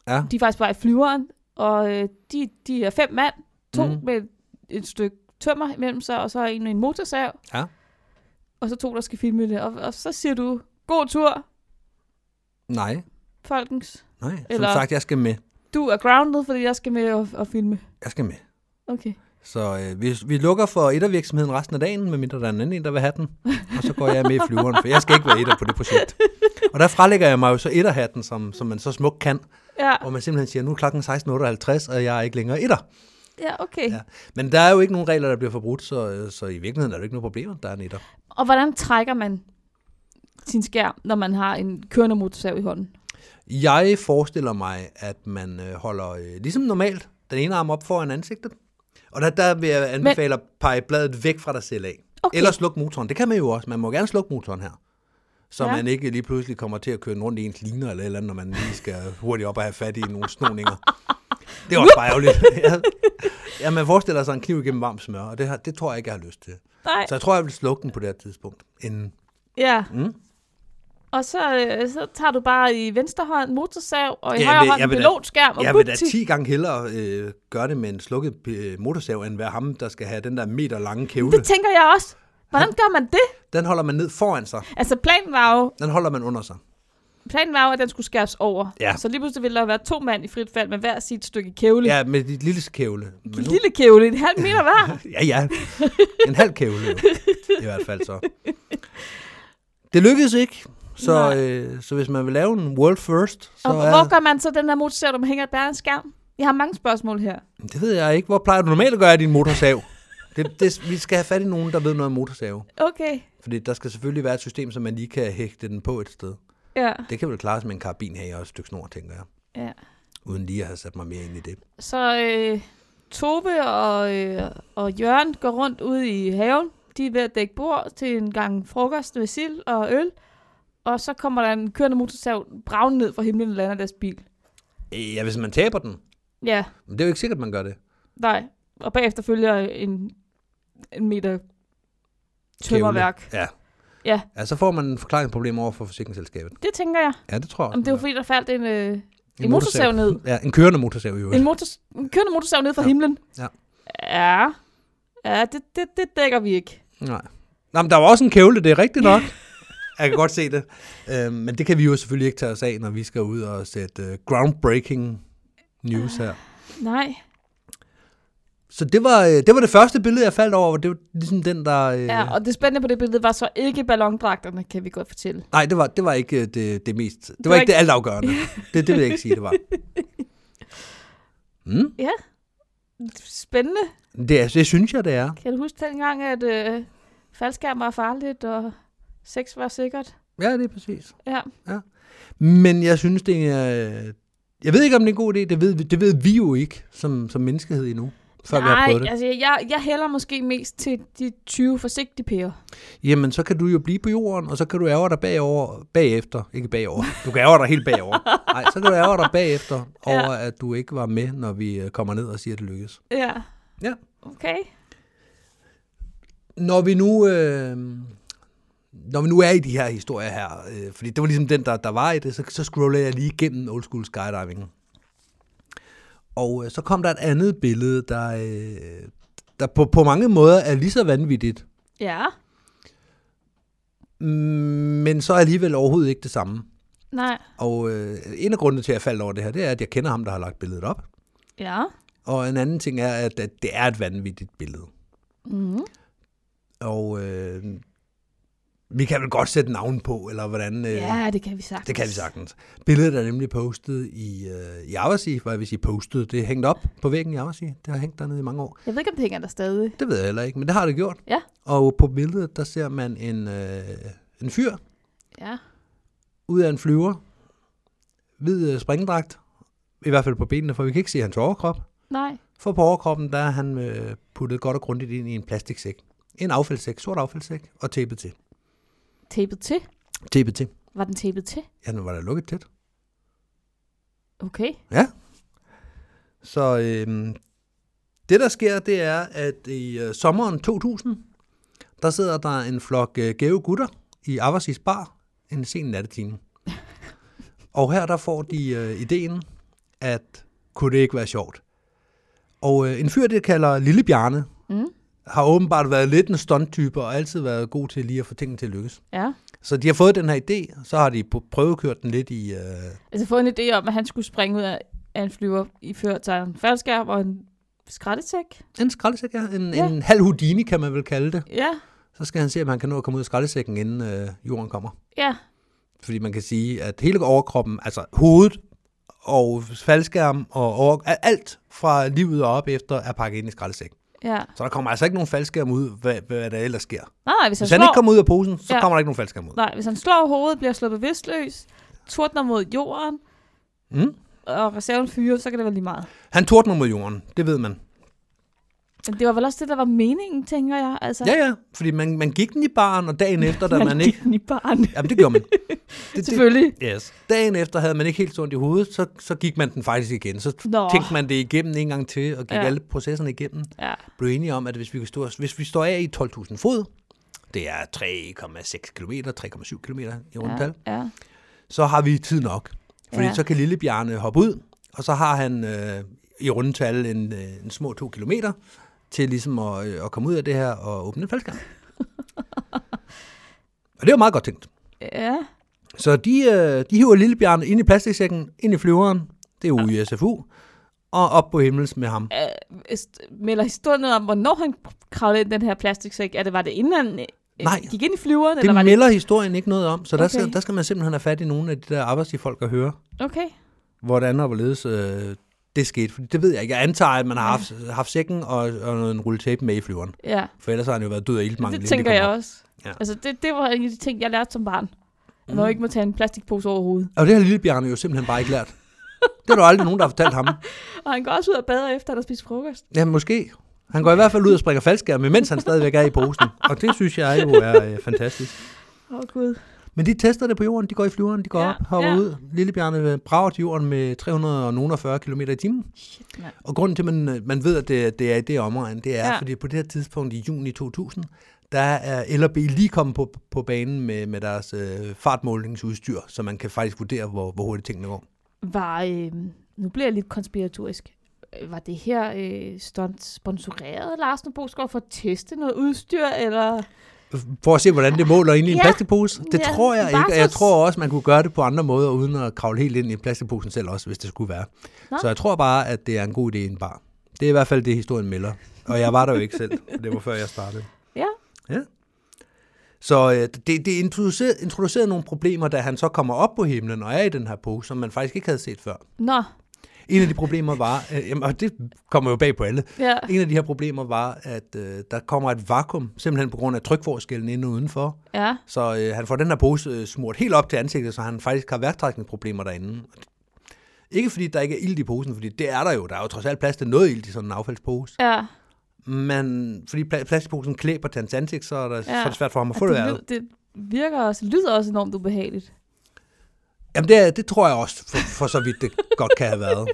C: ja.
B: De er faktisk bare i flyveren. Og øh, de, de er fem mand. To
C: Mhm.
B: mm. med et stykke tømmer imellem sig, og så en med en motorsav.
C: Ja.
B: Og så to, der skal filme det. Og, og så siger du, god tur,
C: Nej,
B: folkens.
C: nej. Som
B: Eller-
C: sagt, jeg skal med.
B: Du er grounded, fordi jeg skal med og, og filme.
C: Jeg skal med.
B: Okay.
C: Så øh, vi, vi lukker for ettervirksomheden resten af dagen, medmindre der er en anden en, der vil have den. Og så går jeg med i flyveren, for jeg skal ikke være etter på det projekt. Og der frelægger jeg mig jo så etterhatten, som, som man så smukt kan,
B: [laughs] Ja,
C: hvor man simpelthen siger, nu er klokken 16.58, og jeg er ikke længere etter.
B: ja okay.
C: Ja.
B: Ja.
C: Men der er jo ikke nogen regler, der bliver forbrudt, så, øh, så i virkeligheden er der ikke nogen problemer, der er en etter.
B: Og hvordan trækker man sin skærm, når man har en kørende motorsav i hånden?
C: Jeg forestiller mig, at man øh, holder, øh, ligesom normalt, den ene arm op foran ansigtet. Og der, der vil jeg anbefale at pege bladet væk fra dig selv af.
B: Okay.
C: Eller slukke motoren. Det kan man jo også. Man må gerne slukke motoren her. Så ja.
B: Ja.
C: man ikke lige pludselig kommer til at køre den rundt i ens ligner eller et eller andet, når man lige skal hurtigt op og have fat i nogle snoninger. Det er også bare ærgerligt. ja. ja, man forestiller sig en kniv igennem varmt smør, og det, har, det tror jeg ikke, jeg har lyst til.
B: Nej.
C: Så jeg tror, jeg vil slukke den på det her tidspunkt. Inden.
B: Ja.
C: Mm.
B: Og så, øh, så tager du bare i venstre hånd motorsav, og i
C: Ja,
B: ja, højre
C: men jeg
B: hånd
C: vil da-
B: pilotskærm, og
C: Jeg vil da
B: bupti.
C: 10 gange hellere øh, gøre det med en slukket øh, motorsav, end være ham, der skal have den der meter lange kævle.
B: Det tænker jeg også. Hvordan gør man det?
C: Den holder man ned foran sig.
B: Altså, planen var jo,
C: Den holder man under sig.
B: planen var jo at den skulle skæres over.
C: Ja.
B: Så lige pludselig ville der være to mand i frit fald med hver sit stykke kævle.
C: Ja, med dit lille kævle. Men
B: En
C: nu-
B: lille kævle, en halv meter hver.
C: Ja, ja. En halv kævle, jo. i hvert fald så. Det lykkedes ikke. Så,
B: Nej.
C: øh, så hvis man vil lave en world first, [laughs] så øh-
B: og hvor
C: er...
B: gør man så den her motorsav, når man hænger bærer en skærm? Jeg har mange spørgsmål her.
C: Det ved jeg ikke. Hvor plejer du normalt at gøre af din motorsav? Det, det, vi skal have fat i nogen, der ved noget om motorsave.
B: Okay.
C: Fordi der skal selvfølgelig være et system, så man lige kan hægte den på et sted.
B: Ja.
C: Det kan vel klares med en karabinhager og et stykke snor, tænker jeg.
B: ja.
C: Uden lige at have sat mig mere ind i det.
B: Så øh, Tobe og, øh, og Jørgen går rundt ude i haven. De er ved at dække bord til en gang frokost med sild og øl. Og så kommer der en kørende motorsav bragen ned fra himlen og lander i deres bil.
C: Øh, Ja, hvis man taber den.
B: Ja,
C: Men det er jo ikke sikkert, man gør det.
B: nej. Og bagefter følger en, en meter tømmerværk.
C: Kævle. Ja.
B: Ja.
C: ja. så får man en forklaringsproblem over for forsikringsselskabet.
B: Det tænker jeg.
C: Ja, det tror jeg.
B: Om det er jo
C: også,
B: fordi, der faldt en, øh,
C: man gør.
B: en motorsav ned.
C: Ja, en kørende motorsav i
B: En,
C: øvrigt.
B: motors- en kørende motorsav ned fra
C: Ja.
B: himlen.
C: Ja.
B: Ja, ja det, det, det dækker vi ikke.
C: Nej. Nå, men der var også en kævle, det er rigtigt nok. Jeg kan godt se det. Øhm, men det kan vi jo selvfølgelig ikke tage os af, når vi skal ud og sætte øh, groundbreaking news her.
B: Nej.
C: Så det var, øh, det var det første billede, jeg faldt over. Det var ligesom den, der... Øh,
B: Ja, og det spændende på det billede var så ikke ballondragterne, kan vi godt fortælle.
C: Nej, det var, det var ikke øh, det, det mest... Det, det var,
B: var
C: ikke det
B: ikke-
C: altafgørende. det, det vil jeg ikke sige, det [laughs] var. Mm,
B: Spændende.
C: det, er- det synes jeg, det er.
B: Kan du huske dengang, at øh, faldskærm var farligt, og sex var sikkert?
C: Ja, det er præcis.
B: Ja.
C: Men jeg synes, det er... øh, Jeg ved ikke, om det er en god idé. Det ved, vi- det ved vi jo ikke som, som menneskehed endnu, før vi har
B: Nej,
C: prøvet det.
B: altså jeg, jeg hælder måske mest til de 20 forsigtige pærer.
C: Jamen, så kan du jo blive på jorden, og så kan du ærge dig bagover, bagefter. Ikke bagover. Du kan ærge dig helt [laughs] bagover. Nej, så kan du ærge dig bagefter over, at du ikke var med, når vi øh, kommer ned og siger, at det lykkes.
B: Ja.
C: Ja.
B: Okay.
C: Når vi nu... Øh, når vi nu er i de her historier her, øh, fordi det var ligesom den, der, der var i det, så, så scroller jeg lige igennem Old School Skydiving. Og øh, så kom der et andet billede, der, øh, der på, på mange måder er lige så vanvittigt,
B: Ja.
C: mm, men så alligevel overhovedet ikke det samme.
B: Nej.
C: Og øh, en af grundene til, at jeg faldt over det her, det er, at jeg kender ham, der har lagt billedet op.
B: Ja.
C: Og en anden ting er, at, at det er et vanvittigt billede.
B: Mm.
C: Og øh, vi kan vel godt sætte navn på, eller hvordan... Øh,
B: Ja, det kan vi sagtens.
C: Det kan vi sagtens. Billedet er nemlig postet i, øh, i Avasi, hvad jeg vil sige postet. Det er hængt op på væggen i Avasi. Det har hængt dernede i mange år.
B: Jeg ved ikke, om det hænger der stadig.
C: Det ved jeg heller ikke, men det har det gjort.
B: Ja.
C: Og på billedet, der ser man en, øh, en fyr
B: Ja.
C: ud af en flyver. Hvid øh, springdragt. I hvert fald på benene, for vi kan ikke se hans overkrop.
B: Nej.
C: For på overkroppen, der er han øh, puttet godt og grundigt ind i en plastiksæk. En affaldssæk, sort affaldssæk, og tæppet til.
B: Tapet til.
C: Tæppet til.
B: Var den tapet til?
C: Ja, nu var der lukket tæt.
B: Okay.
C: Ja. Så øhm, det, der sker, det er, at i øh, sommeren 2000, der sidder der en flok øh, gæve gutter i Avasis bar en sen nattetime. Og her der får de øh, ideen, at kunne det ikke være sjovt. Og øh, en fyr, det kalder Lille Bjarne,
B: Mm.
C: har åbenbart været lidt en stunttype og altid været god til lige at få tingene til at lykkes.
B: Ja.
C: Så de har fået den her idé, og så har de på- prøvekørt den lidt i, øh,
B: Altså fået en idé om, at han skulle springe ud af- af en flyver, i ført sig en faldskærm og en skrattesæk.
C: En skraldesæk, ja. En,
B: Ja.
C: ja. en halv Houdini, kan man vel kalde det.
B: Ja.
C: Så skal han se, om han kan nå at komme ud af skraldesækken, inden øh, jorden kommer.
B: Ja.
C: Fordi man kan sige, at hele overkroppen, altså hovedet og faldskærm og over, al- alt fra livet og op efter, er pakket ind i skraldesækken.
B: Ja.
C: Så der kommer altså ikke nogen faldskærm ud, hvad, hvad der ellers sker.
B: Nej, nej, hvis han,
C: Hvis han
B: slår...
C: ikke kommer ud af posen, så
B: Ja.
C: ja. kommer der ikke nogen faldskærm ud.
B: Nej, hvis han slår hovedet, bliver slået bevidstløs, tordner mod jorden,
C: Mm?
B: og reserven fyre, så kan det være lige meget.
C: Han tordner mod jorden, det ved man.
B: Men det var vel også det, der var meningen, tænker jeg. Altså,
C: Ja, ja, fordi man, man gik den i baren, og dagen efter, da man ikke...
B: i barn.
C: Jamen, det [laughs] gjorde man. Det, det,
B: Selvfølgelig.
C: Yes. Dagen efter havde man ikke helt sundt i hovedet, så, så gik man den faktisk igen. Så
B: Nå.
C: Nå. tænkte man det igennem en gang til, og gik
B: Ja.
C: ja. alle processerne igennem.
B: Ja.
C: Blev enige om, at hvis vi, kan stå, hvis vi står af i 12.000 fod, det er 3,6 km, 3,7 km i rundtal, ja.
B: Ja.
C: så har vi tid nok. Fordi
B: Ja.
C: ja. så kan lille Bjarne hoppe ud, og så har han øh, i rundtal en, øh, en små 2 km til ligesom at, øh, at komme ud af det her og åbne en faldskærm. og det var meget godt tænkt.
B: Ja.
C: Så de, øh, de hiver Lillebjørn ind i plastiksækken, ind i flyveren, det er ude i SFU, og op på himmels med ham.
B: Øh, est- melder historien noget om, hvornår han kravlede ind i den her plastiksæk? Er det, var det inden han øh,
C: Nej.
B: gik ind i flyveren?
C: Det
B: eller var
C: melder historien ikke noget om, så der,
B: Okay.
C: okay. skal, der skal man simpelthen have fat i nogle af de der arbejdsfolk og høre,
B: Okay.
C: hvordan og hvorledes øh, det skete. Fordi det ved jeg ikke. Jeg antager, at man har haft, haft sækken og, og noget- en rulletape med i flyveren.
B: Ja.
C: For ellers har han jo været død af
B: Mange
C: ildmangel.
B: det
C: inden de
B: tænker
C: kom
B: jeg
C: op.
B: også. Ja. Mm.
C: Ja.
B: Altså, det, det var en af de ting, jeg lærte som barn. At man ikke må tage en plastikpose over hovedet.
C: Og det har Lillebjørn jo simpelthen bare ikke lært. Det er der aldrig nogen, der har fortalt ham.
B: Og han går også ud og bader efter, at der spiser frokost.
C: Ja, måske. Han går i hvert fald ud og springer faldskærm, mens han stadigvæk er i posen. Og det synes jeg jo er øh, fantastisk.
B: Åh, oh, Gud.
C: Men de tester det på jorden, de går i flyveren, de går
B: Ja,
C: ja, op, hopper
B: ja.
C: ja. ud. Lillebjørne brager til jorden med 340 km i timen.
B: Shit, mand.
C: Og grunden til, at man, øh, man ved, at det, det er i det omegn, det
B: Ja.
C: er, ja. fordi på det her tidspunkt i juni 2000, der er LRB lige kommet på, på banen med, med deres øh, fartmålingsudstyr, så man kan faktisk vurdere, hvor, hvor hurtigt tingene går.
B: Var, øh, nu bliver jeg lidt konspiratorisk. Øh, Var det her øh, stunt sponsoreret af Lars Nobosgaard for at teste noget udstyr, eller...
C: For at se, hvordan det måler ind i en
B: Ja.
C: plastikpose, det
B: Ja,
C: tror jeg
B: bare
C: ikke. Og jeg
B: så-
C: tror også, man kunne gøre det på andre måder, uden at kravle helt ind i plastikposen selv også, hvis det skulle være.
B: Nå.
C: Så jeg tror bare, at det er en god idé i en bar. Det er i hvert fald det, historien melder. Og jeg var der jo ikke selv, for det var før jeg startede.
B: Ja.
C: ja. Så øh, det, det introducerede, introducerede nogle problemer, da han så kommer op på himlen og er i den her pose, som man faktisk ikke havde set før.
B: Nå,
C: En af de problemer var, øh, jamen, og det kommer jo bag på alle,
B: ja.
C: en af de her problemer var, at øh, der kommer et vakuum, simpelthen på grund af trykforskellen inde og udenfor.
B: ja.
C: Så øh, han får den her pose øh, smurt helt op til ansigtet, så han faktisk har værktrækningsproblemer derinde. Ikke fordi der ikke er ild i posen, fordi det er der jo. Der er jo trods alt plads til noget ild i sådan en affaldspose.
B: Ja,
C: Men fordi pla- plastikposen klæber til hans ansigt, så er, der, ja. så er det svært for ham at få
B: Og
C: det
B: det,
C: af.
B: lyd, det virker også, lyder også enormt ubehageligt.
C: Jamen det, er- det tror jeg også, for, for så vidt det godt kan have været.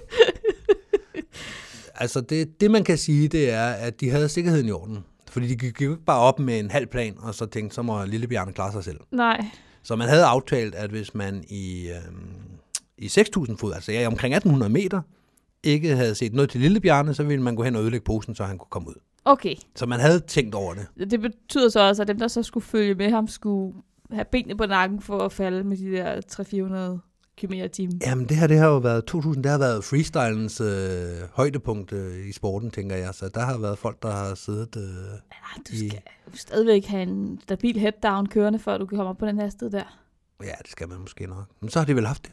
C: Altså det, det man kan sige, det er, at de havde sikkerheden i orden. Fordi de gik jo ikke bare op med en halv plan, og så tænkte, så må lille Bjarne klare sig selv.
B: Nej,
C: Så man havde øhm, aftalt, at hvis man i, øh, i 6.000 fod, altså ja, omkring 1.800 meter, ikke havde set noget til lille Bjarne, så ville man gå hen og ødelægge posen, så han kunne komme ud.
B: Okay,
C: Så man havde tænkt over det.
B: det betyder så også, at dem, der så skulle følge med ham, skulle have benene på nakken for at falde med de der 300-400 km i timen.
C: Jamen det her, det har jo været 2000, det har været freestylens øh, højdepunkt øh, i sporten, tænker jeg. Så der har været folk, der har siddet... Øh,
B: Ej, du
C: i-
B: skal jo stadigvæk have en stabil head-down kørende, før du kan komme op på den hastighed der.
C: ja, det skal man måske nok. Men så har de vel haft det.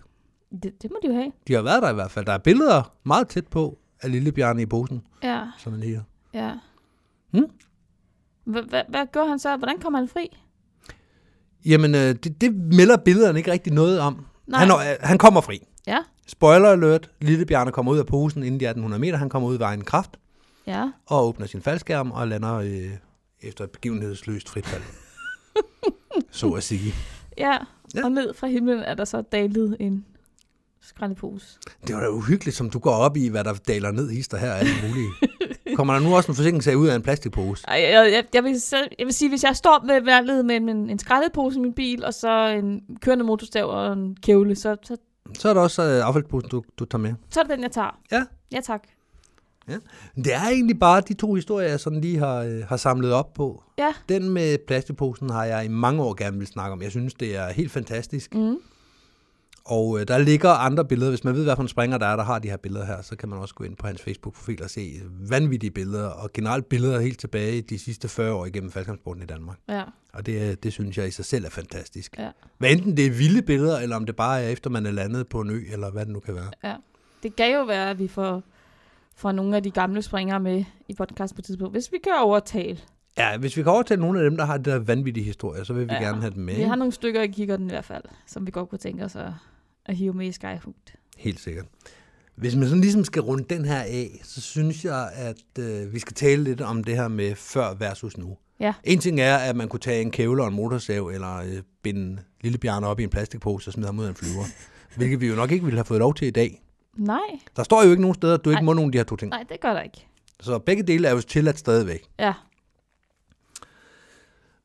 B: Det, det må de jo have.
C: De har været der i hvert fald. Der er billeder meget tæt på af lille Bjarne i posen,
B: Ja,
C: som man siger.
B: ja.
C: Hmm?
B: Hva- hva- Hvad gjorde han så? Hvordan kom han fri?
C: Jamen, øh, det, det melder billederne ikke rigtig noget om.
B: Nej.
C: Han, øh, han kommer fri.
B: Ja,
C: Spoiler alert, lille Bjarne kommer ud af posen inden de 1800 meter. Han kommer ud ved egen kraft
B: ja.
C: og åbner sin faldskærm og lander øh, efter et begivenhedsløst fritfald.
B: [laughs]
C: så at sige.
B: Ja,
C: Ja.
B: og ned fra himlen er der så dalet en skraldepose.
C: Det var da uhyggeligt, som du går op i, hvad der daler ned hister her og alt muligt. Kommer der nu også en forsikringssag ud af en plastikpose?
B: Ej, jeg, jeg, jeg, vil, selv- jeg vil sige, hvis jeg står med valget mellem en, en skraldepose i min bil, og så en kørende motorstav og en kævle, så, så,
C: Så er der også øh, affaldsposen, du, du tager med.
B: så er det den, jeg tager.
C: Ja.
B: Ja, tak.
C: Det er egentlig bare de to historier, jeg sådan lige har, øh, har samlet op på.
B: Ja.
C: Den med plastikposen har jeg i mange år gerne vil snakke om. Jeg synes, det er helt fantastisk.
B: Mm.
C: Og øh, der ligger andre billeder. Hvis man ved, hvad for en springer der er, der har de her billeder her, så kan man også gå ind på hans Facebook-profil og se vanvittige billeder, og generelt billeder helt tilbage de sidste 40 år igennem faldkampsporten i Danmark.
B: Ja.
C: Og det, øh, det synes jeg i sig selv er fantastisk.
B: Ja.
C: Hvad enten det er vilde billeder, eller om det bare er efter, man er landet på en ø, eller hvad det nu kan være.
B: Det kan jo være, at vi får, får nogle af de gamle springere med i podcast på et tidspunkt, hvis vi kan overtale.
C: Ja, hvis vi kan overtale nogle af dem, der har det der vanvittige historie, så vil vi
B: Ja.
C: ja. gerne have dem med.
B: Vi
C: ikke?
B: har nogle stykker i kikkerten i hvert fald, som vi godt kunne tænke os at, at hive med i Skyhugt.
C: Helt sikkert. Hvis man sådan ligesom skal runde den her af, så synes jeg, at øh, vi skal tale lidt om det her med før versus nu.
B: Ja.
C: En ting er, at man kunne tage en kævle og en motorsav, eller øh, binde lille bjørn op i en plastikpose og smide ham ud af en
B: [laughs]
C: flyver. hvilket vi jo nok ikke ville have fået lov til i dag.
B: Nej,
C: Der står jo ikke nogen steder, at du ikke
B: Nej.
C: må nogen af de her to ting.
B: nej, det gør der ikke.
C: Så begge dele er jo tilladt stadigvæk.
B: Ja,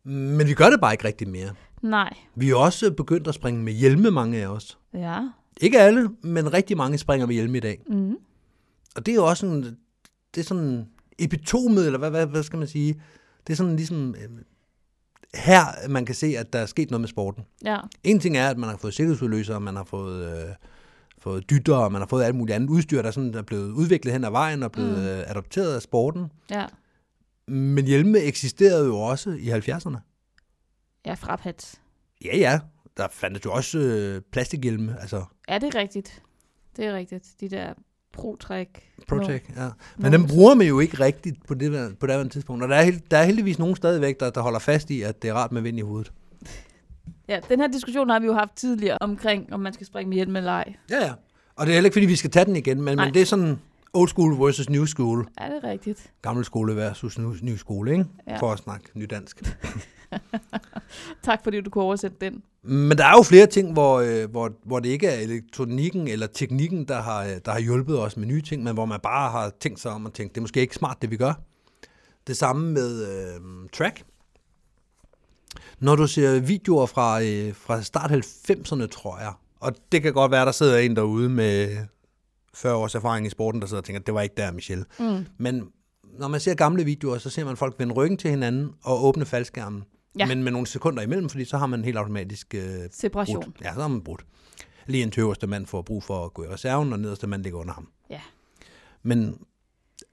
C: Men vi gør det bare ikke rigtig mere.
B: nej,
C: Vi er jo også begyndt at springe med hjelme, mange af os.
B: ja.
C: Ikke alle, men rigtig mange springer med hjelme i dag.
B: Mm.
C: Og det er jo også sådan, det er sådan epitomet, eller hvad, hvad, hvad skal man sige? Det er sådan ligesom øh, her, man kan se, at der er sket noget med sporten.
B: Ja,
C: En ting er, at man har fået sikkerhedsudløser, og man har fået, øh, fået dytter, og man har fået alt muligt andet udstyr, der sådan er blevet udviklet hen ad vejen og blevet
B: Mm.
C: mm. adopteret af sporten.
B: ja.
C: Men hjelme eksisterede jo også i 70'erne.
B: Ja, fraphat.
C: Ja, ja. Der fandtes jo også øh, plastikhjelme, altså
B: Ja, det er rigtigt. Det er rigtigt. De der pro-træk.
C: Protect, ja.
B: Nå.
C: Men den bruger man jo ikke rigtigt på det, der- på det her tidspunkt. Og der er, hel- der er heldigvis nogen stadigvæk, der, der holder fast i, at det er rart med vind i hovedet.
B: Ja, den her diskussion har vi jo haft tidligere omkring, om man skal springe med hjelm eller ej.
C: Ja, ja. Og det er heller ikke, fordi vi skal tage den igen, men,
B: Nej.
C: men det er sådan old school versus new school.
B: Er det rigtigt?
C: Gammel skole versus ny, ny skole, ikke?
B: Ja.
C: Ja. For at snakke nydansk.
B: Tak fordi du kunne oversætte den.
C: Men der er jo flere ting, hvor, øh, hvor, hvor det ikke er elektronikken eller teknikken, der har, øh, der har hjulpet os med nye ting, men hvor man bare har tænkt sig om og tænkt, det er måske ikke smart, det vi gør. Det samme med øh, track. Når du ser videoer fra, øh, fra start 90'erne, tror jeg, og det kan godt være, der sidder en derude med 40 års erfaring i sporten, der sidder og tænker, det var ikke der, Michelle.
B: Mm.
C: Men når man ser gamle videoer, så ser man folk vende ryggen til hinanden og åbne faldskærmen.
B: Ja.
C: Ja. Men med nogle sekunder imellem, fordi så har man helt automatisk øh,
B: Separation.
C: brudt. Ja, så har man brudt. Lige en øverste mand får brug for at gå i reserven, og nederste mand ligger under ham.
B: Ja.
C: Men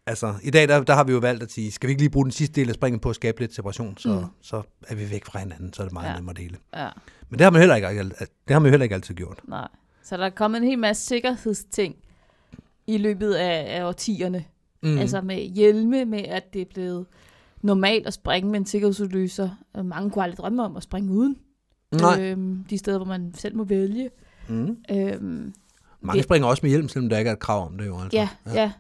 C: altså, i dag der, der har vi jo valgt at sige, skal vi ikke lige bruge den sidste del af springet på at skabe lidt separation, så,
B: Mm.
C: mm. så er vi væk fra hinanden, så er det meget
B: Ja.
C: ja. nemmere at dele.
B: Ja,
C: Men det har man heller ikke, al- det har man jo heller ikke altid gjort.
B: nej. Så der er kommet en hel masse sikkerhedsting i løbet af, af årtierne. Mm. Altså med hjelme, med at det er blevet normalt at springe med en sikkerhedsudløser. Og Mange kunne aldrig drømme om at springe uden.
C: Mm. Nej.
B: Øhm, de steder, hvor man selv må vælge.
C: Mm.
B: Øhm,
C: Mange
B: det-
C: springer også med hjelm, selvom der ikke er et krav om det jo. Altså.
B: Ja, ja.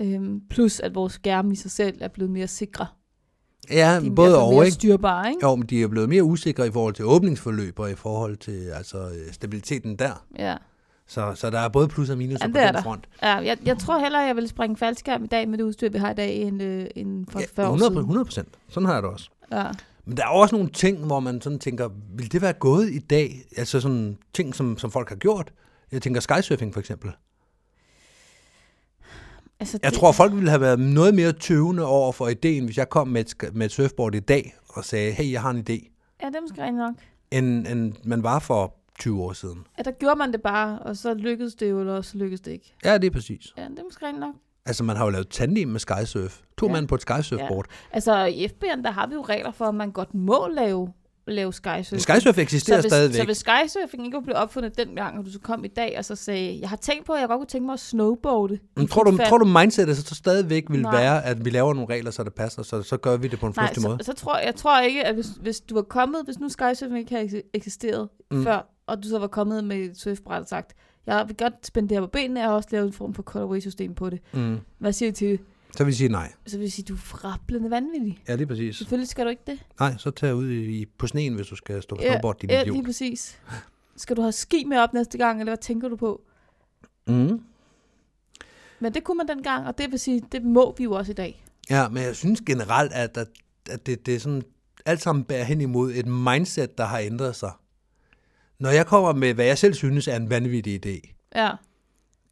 B: Øhm, plus at vores skærme i sig selv er blevet mere sikre.
C: ja
B: De er
C: både
B: mere,
C: og,
B: mere
C: ikke?
B: styrbare, ikke?
C: Jo, men de er blevet mere usikre i forhold til åbningsforløb og i forhold til altså, øh, stabiliteten der.
B: Ja.
C: Så, så der er både plus og minus
B: Ja,
C: ja, på
B: det er
C: den
B: der.
C: front.
B: ja jeg, jeg tror hellere, jeg vil springe faldskærm i dag med det udstyr, vi har i dag, end, øh, end for ja, 40 år
C: 100,
B: siden.
C: 100 procent. Sådan har jeg det også.
B: Ja.
C: Men der er også nogle ting, hvor man sådan tænker, vil det være gået i dag? Altså sådan ting, som, som folk har gjort. Jeg tænker skysurfing for eksempel.
B: Altså,
C: Jeg tror, folk ville have været noget mere tøvende over for ideen, hvis jeg kom med et, sk- med et surfboard i dag og sagde, hey, jeg har en idé,
B: Ja, det er måske rent nok.
C: end, end man var for 20 år siden.
B: Ja, der gjorde man det bare, og så lykkedes det jo, eller så lykkedes det ikke.
C: Ja, det er præcis.
B: Ja, det er måske rent nok.
C: Altså, man har jo lavet tandem med skysurf. To
B: Ja.
C: ja. mand på et skysurfboard.
B: Altså, i FB'en, der har vi jo regler for, at man godt må lave, lave skysurfing.
C: Ja. Skysurf eksisterer
B: så hvis,
C: stadigvæk.
B: Så hvis skysurfing ikke var blevet opfundet dengang, og du så kom i dag og så sagde, jeg har tænkt på, at jeg godt kunne tænke mig at snowboarde.
C: Men tror, du, tror du, mindsetet så stadigvæk vil
B: Nej.
C: være, at vi laver nogle regler, så det passer, så, så gør vi det på en
B: Nej,
C: fornuftig
B: så,
C: måde?
B: så tror, jeg tror ikke, at hvis, hvis du var kommet, hvis nu skysurfing ikke havde eksis- eksisteret mm.
C: Mm.
B: før, og du så var kommet med et surfbræt og sagt, jeg vil godt spænde det her på benene, og jeg har også lavet en form for cutaway-system på det.
C: Mm.
B: Hvad siger I til det?
C: Så vil jeg sige nej.
B: Så vil jeg sige, du er frablende vanvittig.
C: Ja, det er præcis.
B: Selvfølgelig skal du ikke det.
C: Nej, så tag ud i, på sneen, hvis du skal stå på
B: Ja,
C: snowboard, din
B: ja,
C: idiot.
B: lige præcis. Skal du have ski med op næste gang, eller hvad tænker du på?
C: Mm.
B: Men det kunne man dengang, og det vil sige, det må vi jo også i dag.
C: Ja, men jeg synes generelt, at, at, at det, det er sådan, alt sammen bærer hen imod et mindset, der har ændret sig. Når jeg kommer med, hvad jeg selv synes er en vanvittig idé,
B: Ja,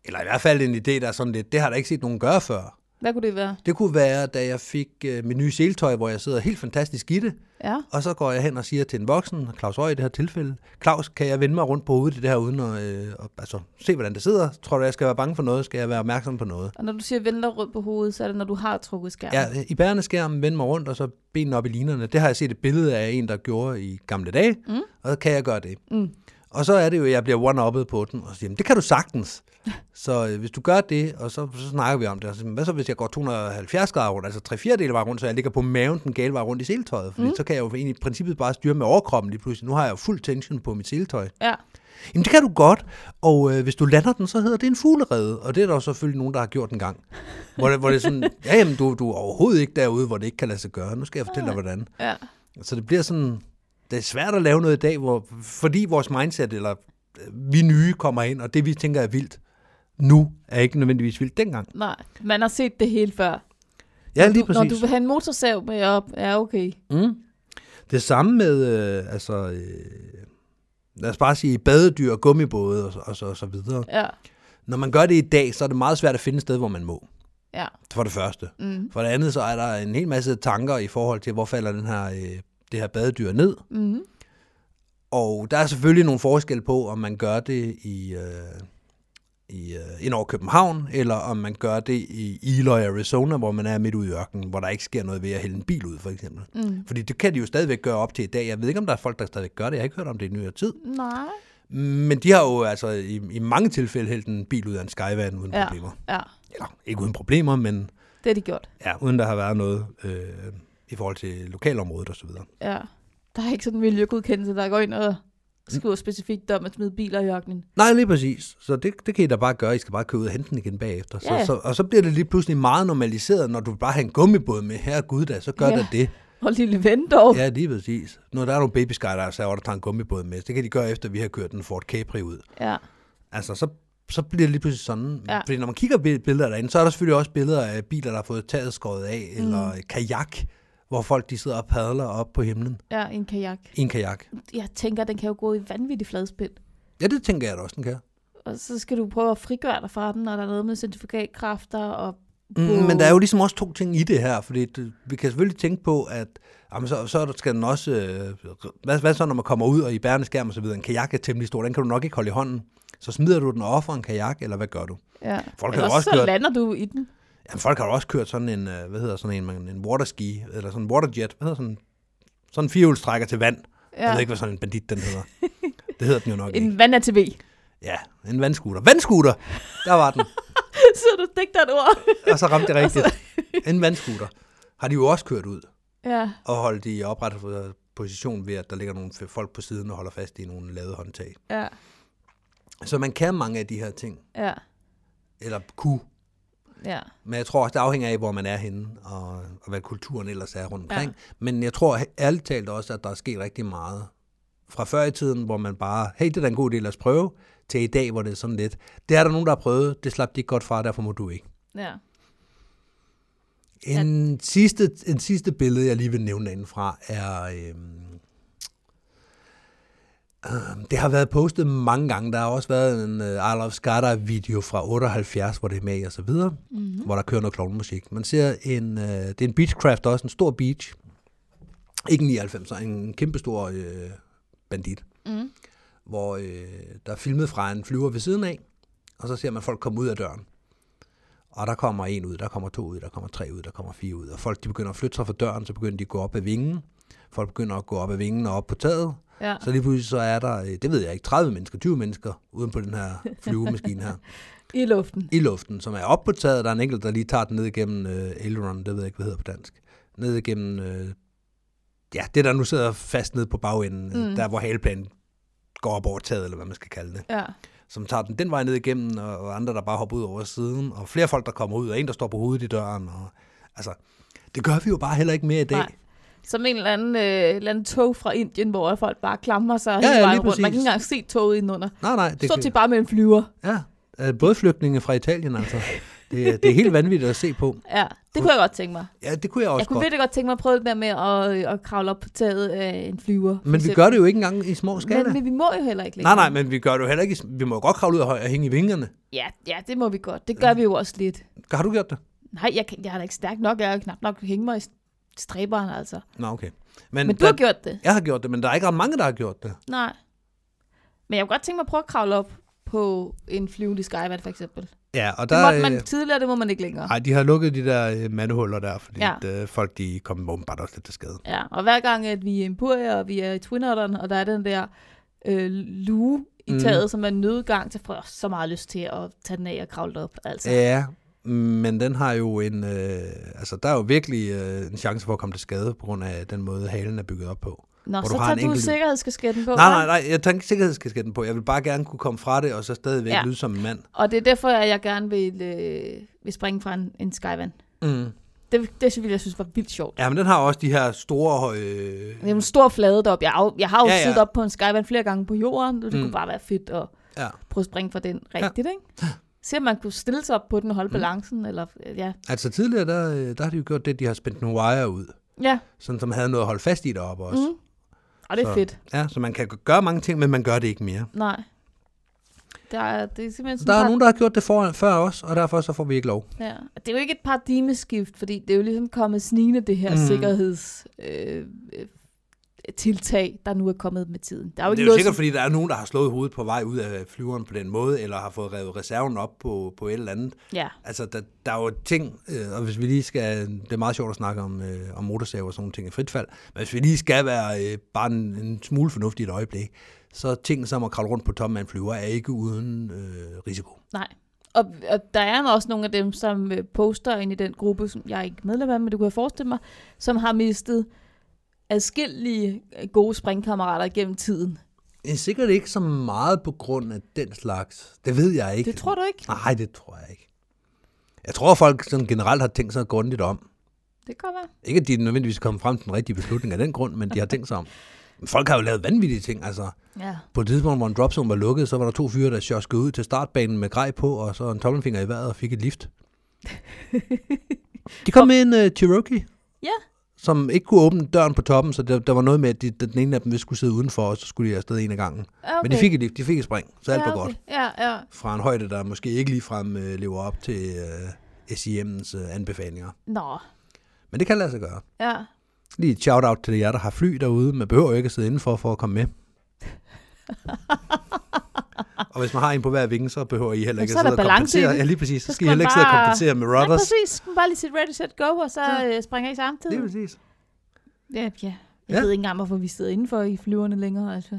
C: eller i hvert fald en idé, der er sådan lidt, det har der ikke set nogen gøre før.
B: hvad kunne det være?
C: Det kunne være, da jeg fik øh, mit nye seletøj, hvor jeg sidder helt fantastisk i det,
B: Ja,
C: og så går jeg hen og siger til en voksen, Claus Høj i det her tilfælde, Claus, kan jeg vende mig rundt på hovedet i det her, uden at øh, og, altså, se, hvordan det sidder? Tror du, jeg skal være bange for noget? Skal jeg være opmærksom på noget?
B: og når du siger vender rundt på hovedet, så er det, når du har trukket skærmen.
C: Ja, i bærende skærmen, vende mig rundt, og så benene op i linerne. Det har jeg set et billede af en, der gjorde i gamle dage, mm. og så kan jeg gøre det.
B: Mm.
C: Og så er det jo, at jeg bliver one-uppet på den, og siger, "Jamen, det kan du sagtens. [laughs] Så øh, hvis du gør det, og så, så snakker vi om det, og så, siger, hvad så hvis jeg går 270 grader rundt, altså 3 4 vej rundt, så jeg ligger på maven den gale vej rundt i seletøjet, fordi mm. så kan jeg jo egentlig i princippet bare styre med overkroppen lige pludselig. Nu har jeg jo fuld tension på mit seletøj.
B: ja.
C: Jamen det kan du godt, og øh, hvis du lander den, så hedder det en fuglerede, og det er der jo selvfølgelig nogen, der har gjort en gang. Hvor det, hvor det er
B: [laughs]
C: sådan, ja jamen du, du er overhovedet ikke derude, hvor det ikke kan lade sig gøre, nu skal jeg fortælle dig hvordan.
B: ja.
C: Så det bliver sådan, det er svært at lave noget i dag, hvor, fordi vores mindset, eller øh, vi nye kommer ind, og det vi tænker er vildt, nu er ikke nødvendigvis vildt dengang.
B: Nej, man har set det hele før.
C: Ja, lige præcis.
B: Når du vil have en motorsav med op, ja okay.
C: Mm. Det samme med, øh, altså, øh, lad os bare sige, badedyr, og gummibåde og, så- og, så, og så videre.
B: Ja,
C: Når man gør det i dag, så er det meget svært at finde et sted, hvor man må.
B: ja.
C: For det første.
B: Mm.
C: For det andet, så er der en hel masse tanker i forhold til, hvor falder den her, øh, det her badedyr ned.
B: Mm.
C: Og der er selvfølgelig nogle forskel på, om man gør det i, øh, i øh, ind over København, eller om man gør det i Eloy, Arizona, hvor man er midt ude i ørkenen, hvor der ikke sker noget ved at hælde en bil ud, for eksempel.
B: Mm.
C: Fordi det kan de jo stadigvæk gøre op til i dag. Jeg ved ikke, om der er folk, der stadigvæk gør det. Jeg har ikke hørt om det i nyere tid.
B: Nej.
C: Men de har jo altså i, i mange tilfælde hældt en bil ud af en skyvan uden
B: Ja.
C: ja. problemer.
B: Ja,
C: Eller ikke uden problemer, men
B: det har de gjort.
C: ja, uden der har været noget øh, i forhold til lokalområdet osv.
B: Ja. Der er ikke sådan en miljøgodkendelse, der går ind og skriver specifikt om at smide biler i ørkenen.
C: Nej, lige præcis. Så det, det kan I da bare gøre. I skal bare købe ud og hente den igen bagefter. Så,
B: Ja.
C: så, og så bliver det lige pludselig meget normaliseret, når du bare har en gummibåd med. Herre gud da, så gør
B: Ja.
C: ja. der det.
B: Og lille ven dog.
C: Ja, lige præcis. Når der er nogle baby skydivers herovre, der tager en gummibåd med, det kan de gøre efter, vi har kørt en Ford Capri ud.
B: ja.
C: Altså, så, så bliver det lige pludselig sådan.
B: Ja.
C: Ja. Fordi når man kigger på billeder derinde, så er der selvfølgelig også billeder af biler, der har fået taget skåret af, mm. eller kajak, hvor folk de sidder og padler op på himlen
B: ja en kajak.
C: i en kajak.
B: Jeg tænker, den kan jo gå i vanvittig fladspind.
C: Ja, det tænker jeg da også, den kan.
B: Og så skal du prøve at frigøre dig fra den, og der er noget med certifikatkræfter og...
C: Mm, men der er jo ligesom også to ting i det her, fordi det, vi kan selvfølgelig tænke på, at jamen, så, så skal den også, øh, hvad, hvad så når man kommer ud og i bærende skærm og så videre, en kajak er temmelig stor, den kan du nok ikke holde i hånden. Så smider du den og offrer en kajak, eller hvad gør du?
B: Ja.
C: Folk har
B: Eller
C: jo også
B: så
C: gjort-
B: lander du i den.
C: Jamen, folk har jo også kørt sådan en, øh, hvad hedder sådan en, man- en waterski, eller sådan en waterjet, hvad hedder sådan, sådan en firehjulstrækker til vand. Ja. Jeg ved ikke, hvad sådan en bandit den hedder. det hedder den [laughs] jo nok ikke.
B: En vand-ATV.
C: Ja, en vandskuter. Vandskuter! Der var den.
B: [laughs] så du digter et ord.
C: [laughs] Og så ramte det rigtigt. En vandskuter har de jo også kørt ud.
B: ja.
C: og holde de i oprettet position ved, at der ligger nogle f- folk på siden og holder fast i nogle lade håndtag.
B: Ja.
C: Så man kan mange af de her ting,
B: Ja.
C: eller kunne.
B: Ja.
C: Men jeg tror også, det afhænger af, hvor man er henne, og, og hvad kulturen ellers er rundt omkring. Ja. Men jeg tror he- ærligt talt også, at der er sket rigtig meget fra før i tiden, hvor man bare, hey, det er da en god del at prøve, til i dag, hvor det er sådan lidt, det er der nogen, der har prøvet, det slap de ikke godt fra, derfor må du ikke.
B: Ja.
C: En, ja. sidste, en sidste billede, jeg lige vil nævne derindefra, er... Øhm, Øhm, Det har været postet mange gange. Der har også været en øh, I Love Skata-video fra 78, hvor det er med og så videre, mm-hmm. hvor der kører noget klovnemusik. Man ser en, øh, det er en beachcraft også, en stor beach. Ikke en 99, så en kæmpestor øh, bandit.
B: Mm.
C: Hvor øh, der er filmet fra en flyver ved siden af, og så ser man folk komme ud af døren. Og der kommer en ud, der kommer to ud, der kommer tre ud, der kommer fire ud. Og folk de begynder at flytte sig fra døren, så begynder de at gå op ad vingen. Folk begynder at gå op ad vingen og op på taget.
B: Ja.
C: Så lige pludselig så er der, øh, det ved jeg ikke, 30 mennesker, 20 mennesker uden på den her flyvemaskine her
B: I luften.
C: i luften, som er oppe på taget. Der er en enkelt, der lige tager den ned igennem øh, aileron, det ved jeg ikke, hvad hedder på dansk. Ned igennem, øh, ja, det der nu sidder fast nede på bagenden,
B: Mm.
C: mm. der hvor haleplanen går op over taget, eller hvad man skal kalde det.
B: Ja.
C: Som tager den den vej ned igennem, og, og andre, der bare hopper ud over siden, og flere folk, der kommer ud, og en, der står på hovedet i døren. Og, altså, det gør vi jo bare heller ikke mere i dag.
B: Nej. Som en eller anden, øh, eller anden tog fra Indien, hvor folk bare klamrer sig ja,
C: ja,
B: hele vejen rundt.
C: lige
B: Man kan
C: præcis.
B: ikke engang se toget indenunder.
C: nej, nej det,
B: Stort set bare med en flyver.
C: Ja, øh, både flygtninge fra Italien, altså. Det, er- det er helt vanvittigt at se på.
B: Ja, det kunne jeg godt tænke mig.
C: Ja, det kunne jeg også
B: Jeg kunne
C: godt.
B: virkelig godt tænke mig at prøve det der med at, at kravle op på taget af en flyver. for
C: Men vi
B: eksempel.
C: gør det jo ikke engang i små skala.
B: Men, men vi må jo heller ikke
C: Nej,
B: længere.
C: nej, men vi gør det jo heller ikke. i sm- Vi må jo godt kravle ud og hø- og hænge i vingerne.
B: Ja, ja, det må vi godt. Det
C: Mm.
B: gør vi jo også lidt.
C: Har du gjort det?
B: Nej, jeg, kan, jeg er da ikke stærk nok. Jeg har knap nok hænge mig i stræberen, altså.
C: Nå, okay.
B: Men du
C: der,
B: har gjort det.
C: Jeg har gjort det, men der er ikke ret mange, der har gjort det.
B: Nej. Men jeg kunne godt tænke mig at prøve at kravle op på en flyvende Skyward, for eksempel.
C: Ja, og
B: Det
C: der...
B: måtte man
C: øh,
B: tidligere, det må man ikke længere.
C: Ej, de har lukket de der øh, mandehuller der, fordi
B: Ja.
C: ja. at, øh, folk de kom åbenbart også lidt til skade.
B: Ja, og hver gang, at vi er i Empuria, og vi er i Twin Otteren, og der er den der øh, lue i
C: Mm.
B: taget, mm. som er en nødgang, så får jeg så meget lyst til at tage den af og kravle op. Altså.
C: Ja, men den har jo en... Øh, altså, der er jo virkelig øh, en chance for at komme til skade, på grund af den måde, halen er bygget op på.
B: Nå,
C: hvor
B: så
C: du har
B: tager
C: en
B: du
C: enkelt-
B: sikkerhedskasketten på.
C: Nej,
B: hva'?
C: nej, nej, jeg tænker ikke sikkerhedskasketten på. Jeg vil bare gerne kunne komme fra det, og så stadigvæk
B: Ja.
C: ja. lyde som en mand.
B: Og det er derfor, at jeg gerne vil, øh, vil springe fra en, en skyvand.
C: Mm.
B: Det, det ville jeg synes var vildt sjovt.
C: Ja, men den har også de her store... Øh...
B: Det er jo en stor flade deroppe. Jeg, har jo- jeg har jo ja,
C: Ja,
B: ja.
C: ja.
B: siddet op på en skyvand flere gange på jorden, og det mm.
C: Mm.
B: kunne bare være fedt at
C: Ja.
B: prøve at springe fra den rigtigt, ja. ikke? Se om man kunne stille sig op på den og holde mm. balancen, eller ja.
C: Altså tidligere, der, øh, der har de jo gjort det, at de har spændt nogle wire ud,
B: Ja,
C: sådan som havde noget at holde fast i deroppe også.
B: mm. og det er
C: Så-
B: fedt.
C: Ja, så man kan gøre mange ting, men man gør det ikke mere.
B: Nej. Der er, det er simpelthen
C: Så
B: sådan
C: der er
B: par-
C: nogen, der har gjort det for, før os, og derfor så får vi ikke lov.
B: Ja. Og Det er jo ikke et paradigmeskift, fordi det er jo ligesom kommet snigende, det her mm.
C: Mhm.
B: sikkerhedstiltag, øh, øh, tiltag, der nu er kommet med tiden. Der er jo
C: Det
B: ikke
C: er jo
B: noget,
C: sikkert,
B: som-
C: fordi der er nogen, der har slået hovedet på vej ud af flyveren på den måde, eller har fået revet reserven op på, på et eller andet.
B: Ja,
C: Altså, der, der er jo ting, øh, og hvis vi lige skal, det er meget sjovt at snakke om, øh, om motorsaver og sådan nogle ting i frit fald, men hvis vi lige skal være øh, bare en, en smule fornuftig et øjeblik, så ting som at kravle rundt på toppen af en flyver er ikke uden øh, risiko.
B: nej. Og, og der er også nogle af dem, som øh, poster ind i den gruppe, som jeg er ikke medlem af, men det kunne jeg forestille mig, som har mistet adskillige øh, gode springkammerater gennem tiden.
C: Øh, Sikkert ikke så meget på grund af den slags. Det ved jeg ikke.
B: Det tror du ikke?
C: Nej, det tror jeg ikke. Jeg tror, at folk sådan generelt har tænkt sig grundigt om.
B: Det kan godt være.
C: Ikke, at de nødvendigvis kommer frem til den rigtige beslutning af den grund, men de har tænkt sig om. Men folk har jo lavet vanvittige ting, altså.
B: Ja.
C: På et tidspunkt, hvor en dropzone var lukket, så var der to fyre, der sjoskede ud til startbanen med grej på, og så en tommelfinger i vejret og fik et lift. De kom med en uh, Cherokee,
B: Ja.
C: som ikke kunne åbne døren på toppen, så der, der var noget med, at de, den ene af dem skulle sidde udenfor, og så skulle de afsted en af gangen. Okay.
B: Okay.
C: Men de fik et lift, de fik et spring, så alt
B: ja,
C: var godt.
B: Ja, ja.
C: Fra en højde, der måske ikke ligefrem uh, lever op til uh, SIM's uh, anbefalinger.
B: Nå,
C: Men det kan lade sig gøre.
B: ja.
C: Lige et shout-out til jer, der har fly derude. Man behøver jo ikke at sidde indenfor for at komme
B: [laughs]
C: med. og hvis man har en på hver vinge, så behøver I heller
B: Men
C: ikke
B: så er
C: at sidde
B: der
C: og
B: balance i
C: kompensere.
B: det.
C: Ja, lige præcis. Så
B: Så
C: skal,
B: skal
C: I heller
B: man
C: ikke sidde og
B: bare-
C: kompensere med
B: Nej,
C: rudders.
B: præcis. Skal bare lige sætte ready, set, go, og så ja. øh, springer I samtidig.
C: Det er præcis.
B: Ja, ja. Jeg ja.
C: Ja.
B: ved ikke engang, hvorfor vi sidder indenfor i flyverne længere. Altså.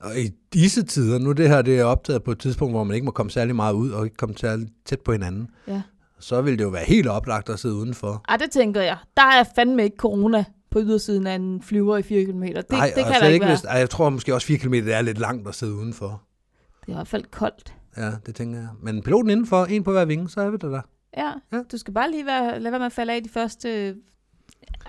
C: Og i disse tider, nu det her det er optaget på et tidspunkt, hvor man ikke må komme særlig meget ud og ikke komme særlig tæt på hinanden,
B: Ja.
C: så vil det jo være helt oplagt at sidde udenfor.
B: Ej, det tænker jeg. Der er fandme ikke corona på ydersiden af en flyver i 4 km. Det,
C: Ej,
B: det
C: og
B: kan der
C: slet
B: ikke være.
C: hvis- Ej, jeg tror måske også 4 km er lidt langt at sidde udenfor.
B: Det er i hvert fald koldt.
C: Ja, det tænker jeg. Men piloten indenfor, en på hver vinge, så er vi der der.
B: Ja. ja.
C: Ja.
B: Du skal bare lige være, lade være med at falde af de første øh,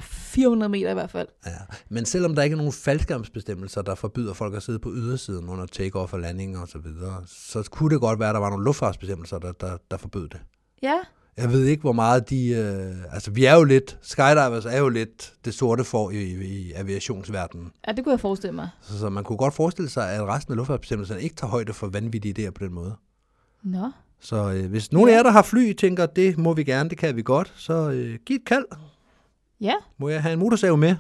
B: 400 meter i hvert fald.
C: Ja, men selvom der ikke er nogen faldskærmsbestemmelser, der forbyder folk at sidde på ydersiden under take-off og landing og så videre, så kunne det godt være, at der var nogle luftfartsbestemmelser, der, der, der forbød det.
B: Ja,
C: Jeg ved ikke, hvor meget de... Øh, altså, vi er jo lidt... Skydivers er jo lidt det sorte for i, i, i aviationsverdenen.
B: Ja, det kunne jeg forestille mig.
C: Så, så man kunne godt forestille sig, at resten af luftfartsbestemmelserne ikke tager højde for vanvittige idéer på den måde.
B: Nå.
C: Så øh, hvis nogen af jer, der har fly, tænker, det må vi gerne, det kan vi godt, så øh, giv et kald.
B: Ja,
C: Må jeg have en motorsav med?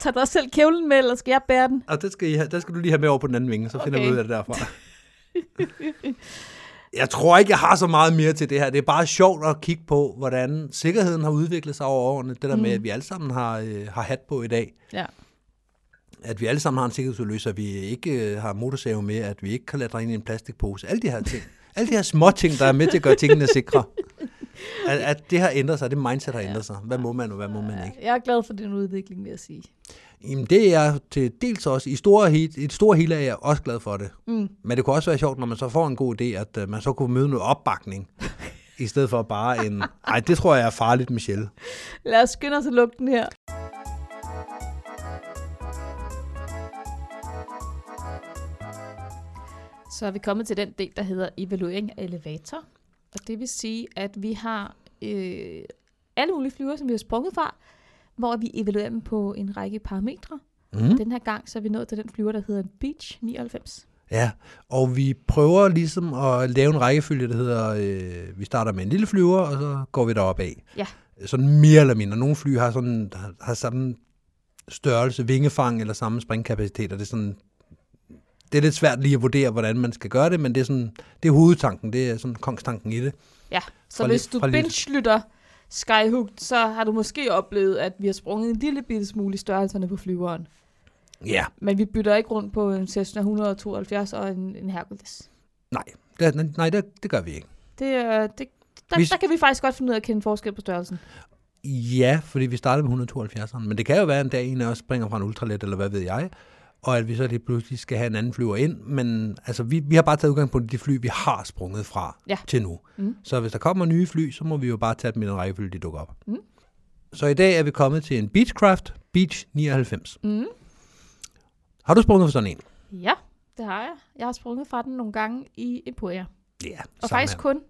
B: tag dig også selv kævlen med, eller skal jeg bære den?
C: Og det skal, I have, det skal du lige have med over på den anden vinge, så finder
B: Okay.
C: okay. vi ud af det derfra. [laughs] jeg tror ikke, jeg har så meget mere til det her. Det er bare sjovt at kigge på, hvordan sikkerheden har udviklet sig over årene. Det der mm. med, at vi alle sammen har, øh, har hat på i dag.
B: Ja.
C: At vi alle sammen har en sikkerhedsudløser, at vi ikke øh, har motorsave med, at vi ikke kan lade ind i en plastikpose. Alle de her ting. alle de her små ting, der er med til at gøre tingene sikre. At, at det har ændret sig, det mindset har ændret sig. Hvad må man, og hvad må man ikke?
B: Jeg er glad for den udvikling, vil jeg sige.
C: Jamen, det er jeg til dels også. I store, he- i det store hele er jeg også glad for det.
B: Mm.
C: Men det kunne også være sjovt, når man så får en god idé, at øh, man så kunne møde noget opbakning, i stedet for bare en, nej, det tror jeg er farligt, Michelle.
B: Lad os skynde os at lukke den her. Så er vi kommet til den del, der hedder evaluering af elevator. Og det vil sige, at vi har øh, alle mulige flyver, som vi har sprunget fra, hvor vi evaluerer dem på en række parametre.
C: Mm.
B: Den her gang så er vi nået til den flyver, der hedder Beach 99.
C: Ja, og vi prøver ligesom at lave en rækkefølge, der hedder, øh, vi starter med en lille flyver, og så går vi derop af.
B: Ja.
C: Sådan mere eller mindre. Nogle fly har, sådan, har, har samme størrelse, vingefang eller samme springkapacitet, og det er sådan, det er lidt svært lige at vurdere, hvordan man skal gøre det, men det er, sådan, det er hovedtanken, det er sådan kongstanken i det.
B: Ja, så
C: Fra
B: hvis
C: lidt-
B: du
C: fra lidt-
B: binge-lytter Skyhooked, så har du måske oplevet, at vi har sprunget en lille bitte smule i størrelserne på flyveren.
C: Ja,
B: Men vi bytter ikke rundt på en Cessna 172 og en, en Hercules.
C: nej, det, nej det, det gør vi ikke.
B: Det, øh, det, der,
C: Hvis-
B: der kan vi faktisk godt finde ud af at kende forskel på størrelsen.
C: Ja, fordi vi startede med 172'eren, men det kan jo være en dag, en af os springer fra en ultralet, eller hvad ved jeg, og at vi så lige pludselig skal have en anden flyver ind, men altså, vi, vi har bare taget udgangspunkt i de fly, vi har sprunget fra
B: Ja.
C: til nu.
B: Mm.
C: Så hvis der kommer nye fly, så må vi jo bare tage dem i den rækkefølge, de dukker op.
B: Mm.
C: Så i dag er vi kommet til en Beechcraft Beach 99.
B: Mm.
C: Har du sprunget for sådan en?
B: Ja, det har jeg. Jeg har sprunget fra den nogle gange i Emporia.
C: Ja,
B: Og faktisk kun...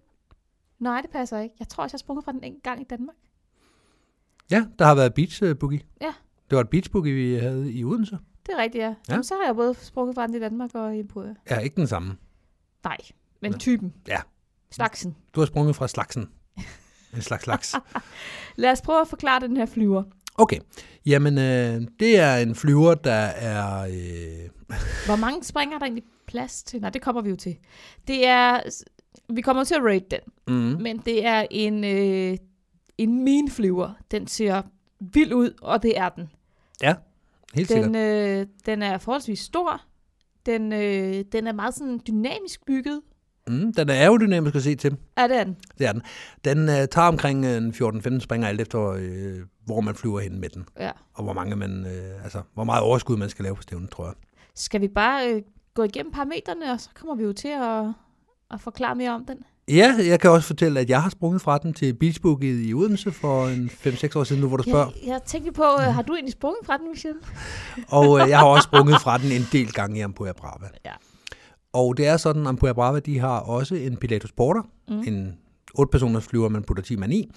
B: Nej, det passer ikke. Jeg tror også, jeg har sprunget fra den en gang i Danmark.
C: Ja, der har været Beach øh, Boogie.
B: Ja.
C: Det var et Beach Boogie, vi havde i Odense.
B: Det er rigtigt, ja. ja. Jamen, så har jeg både sprunget fra den i Danmark og i Emporia.
C: Ja, ikke den samme.
B: Nej, men
C: Ja.
B: typen.
C: Ja.
B: Slagsen.
C: Du har sprunget
B: [laughs]
C: fra slagsen. En slags laks.
B: Lad os prøve at forklare den her flyver.
C: Okay. Jamen, øh, det er en flyver, der er... Øh,
B: Hvor mange springer er der egentlig plads til? Nej, det kommer vi jo til. Det er... Vi kommer til at rate den.
C: mm,
B: Men det er en, øh, en minflyver. Den ser vild ud, og det er den.
C: helt sikkert.
B: Den, øh, den er forholdsvis stor. Den, øh, den er meget sådan dynamisk bygget.
C: Mm, den er aerodynamisk at se til.
B: Ja, det er den.
C: Det er den. Den øh, tager omkring øh, en 14-15 springer, alt efter øh, hvor man flyver hen med den.
B: Ja.
C: Og hvor mange man, øh, altså, hvor meget overskud man skal lave på stævnen, tror jeg.
B: Skal vi bare øh, gå igennem parametrene, og så kommer vi jo til at, at forklare mere om den?
C: Ja, jeg kan også fortælle, at jeg har sprunget fra den til Beach Boogie i Odense for en 5-6 år siden nu, hvor du spørger.
B: Jeg, jeg tænkte på, øh, har du egentlig sprunget fra den, Michelle?
C: Og øh, jeg har også sprunget fra den en del gange i Ampuja Brava.
B: Ja.
C: Og det er sådan, at Ampuja Brava de har også en Pilatus Porter, mm. en 8-personers flyver, man putter 10 mand i,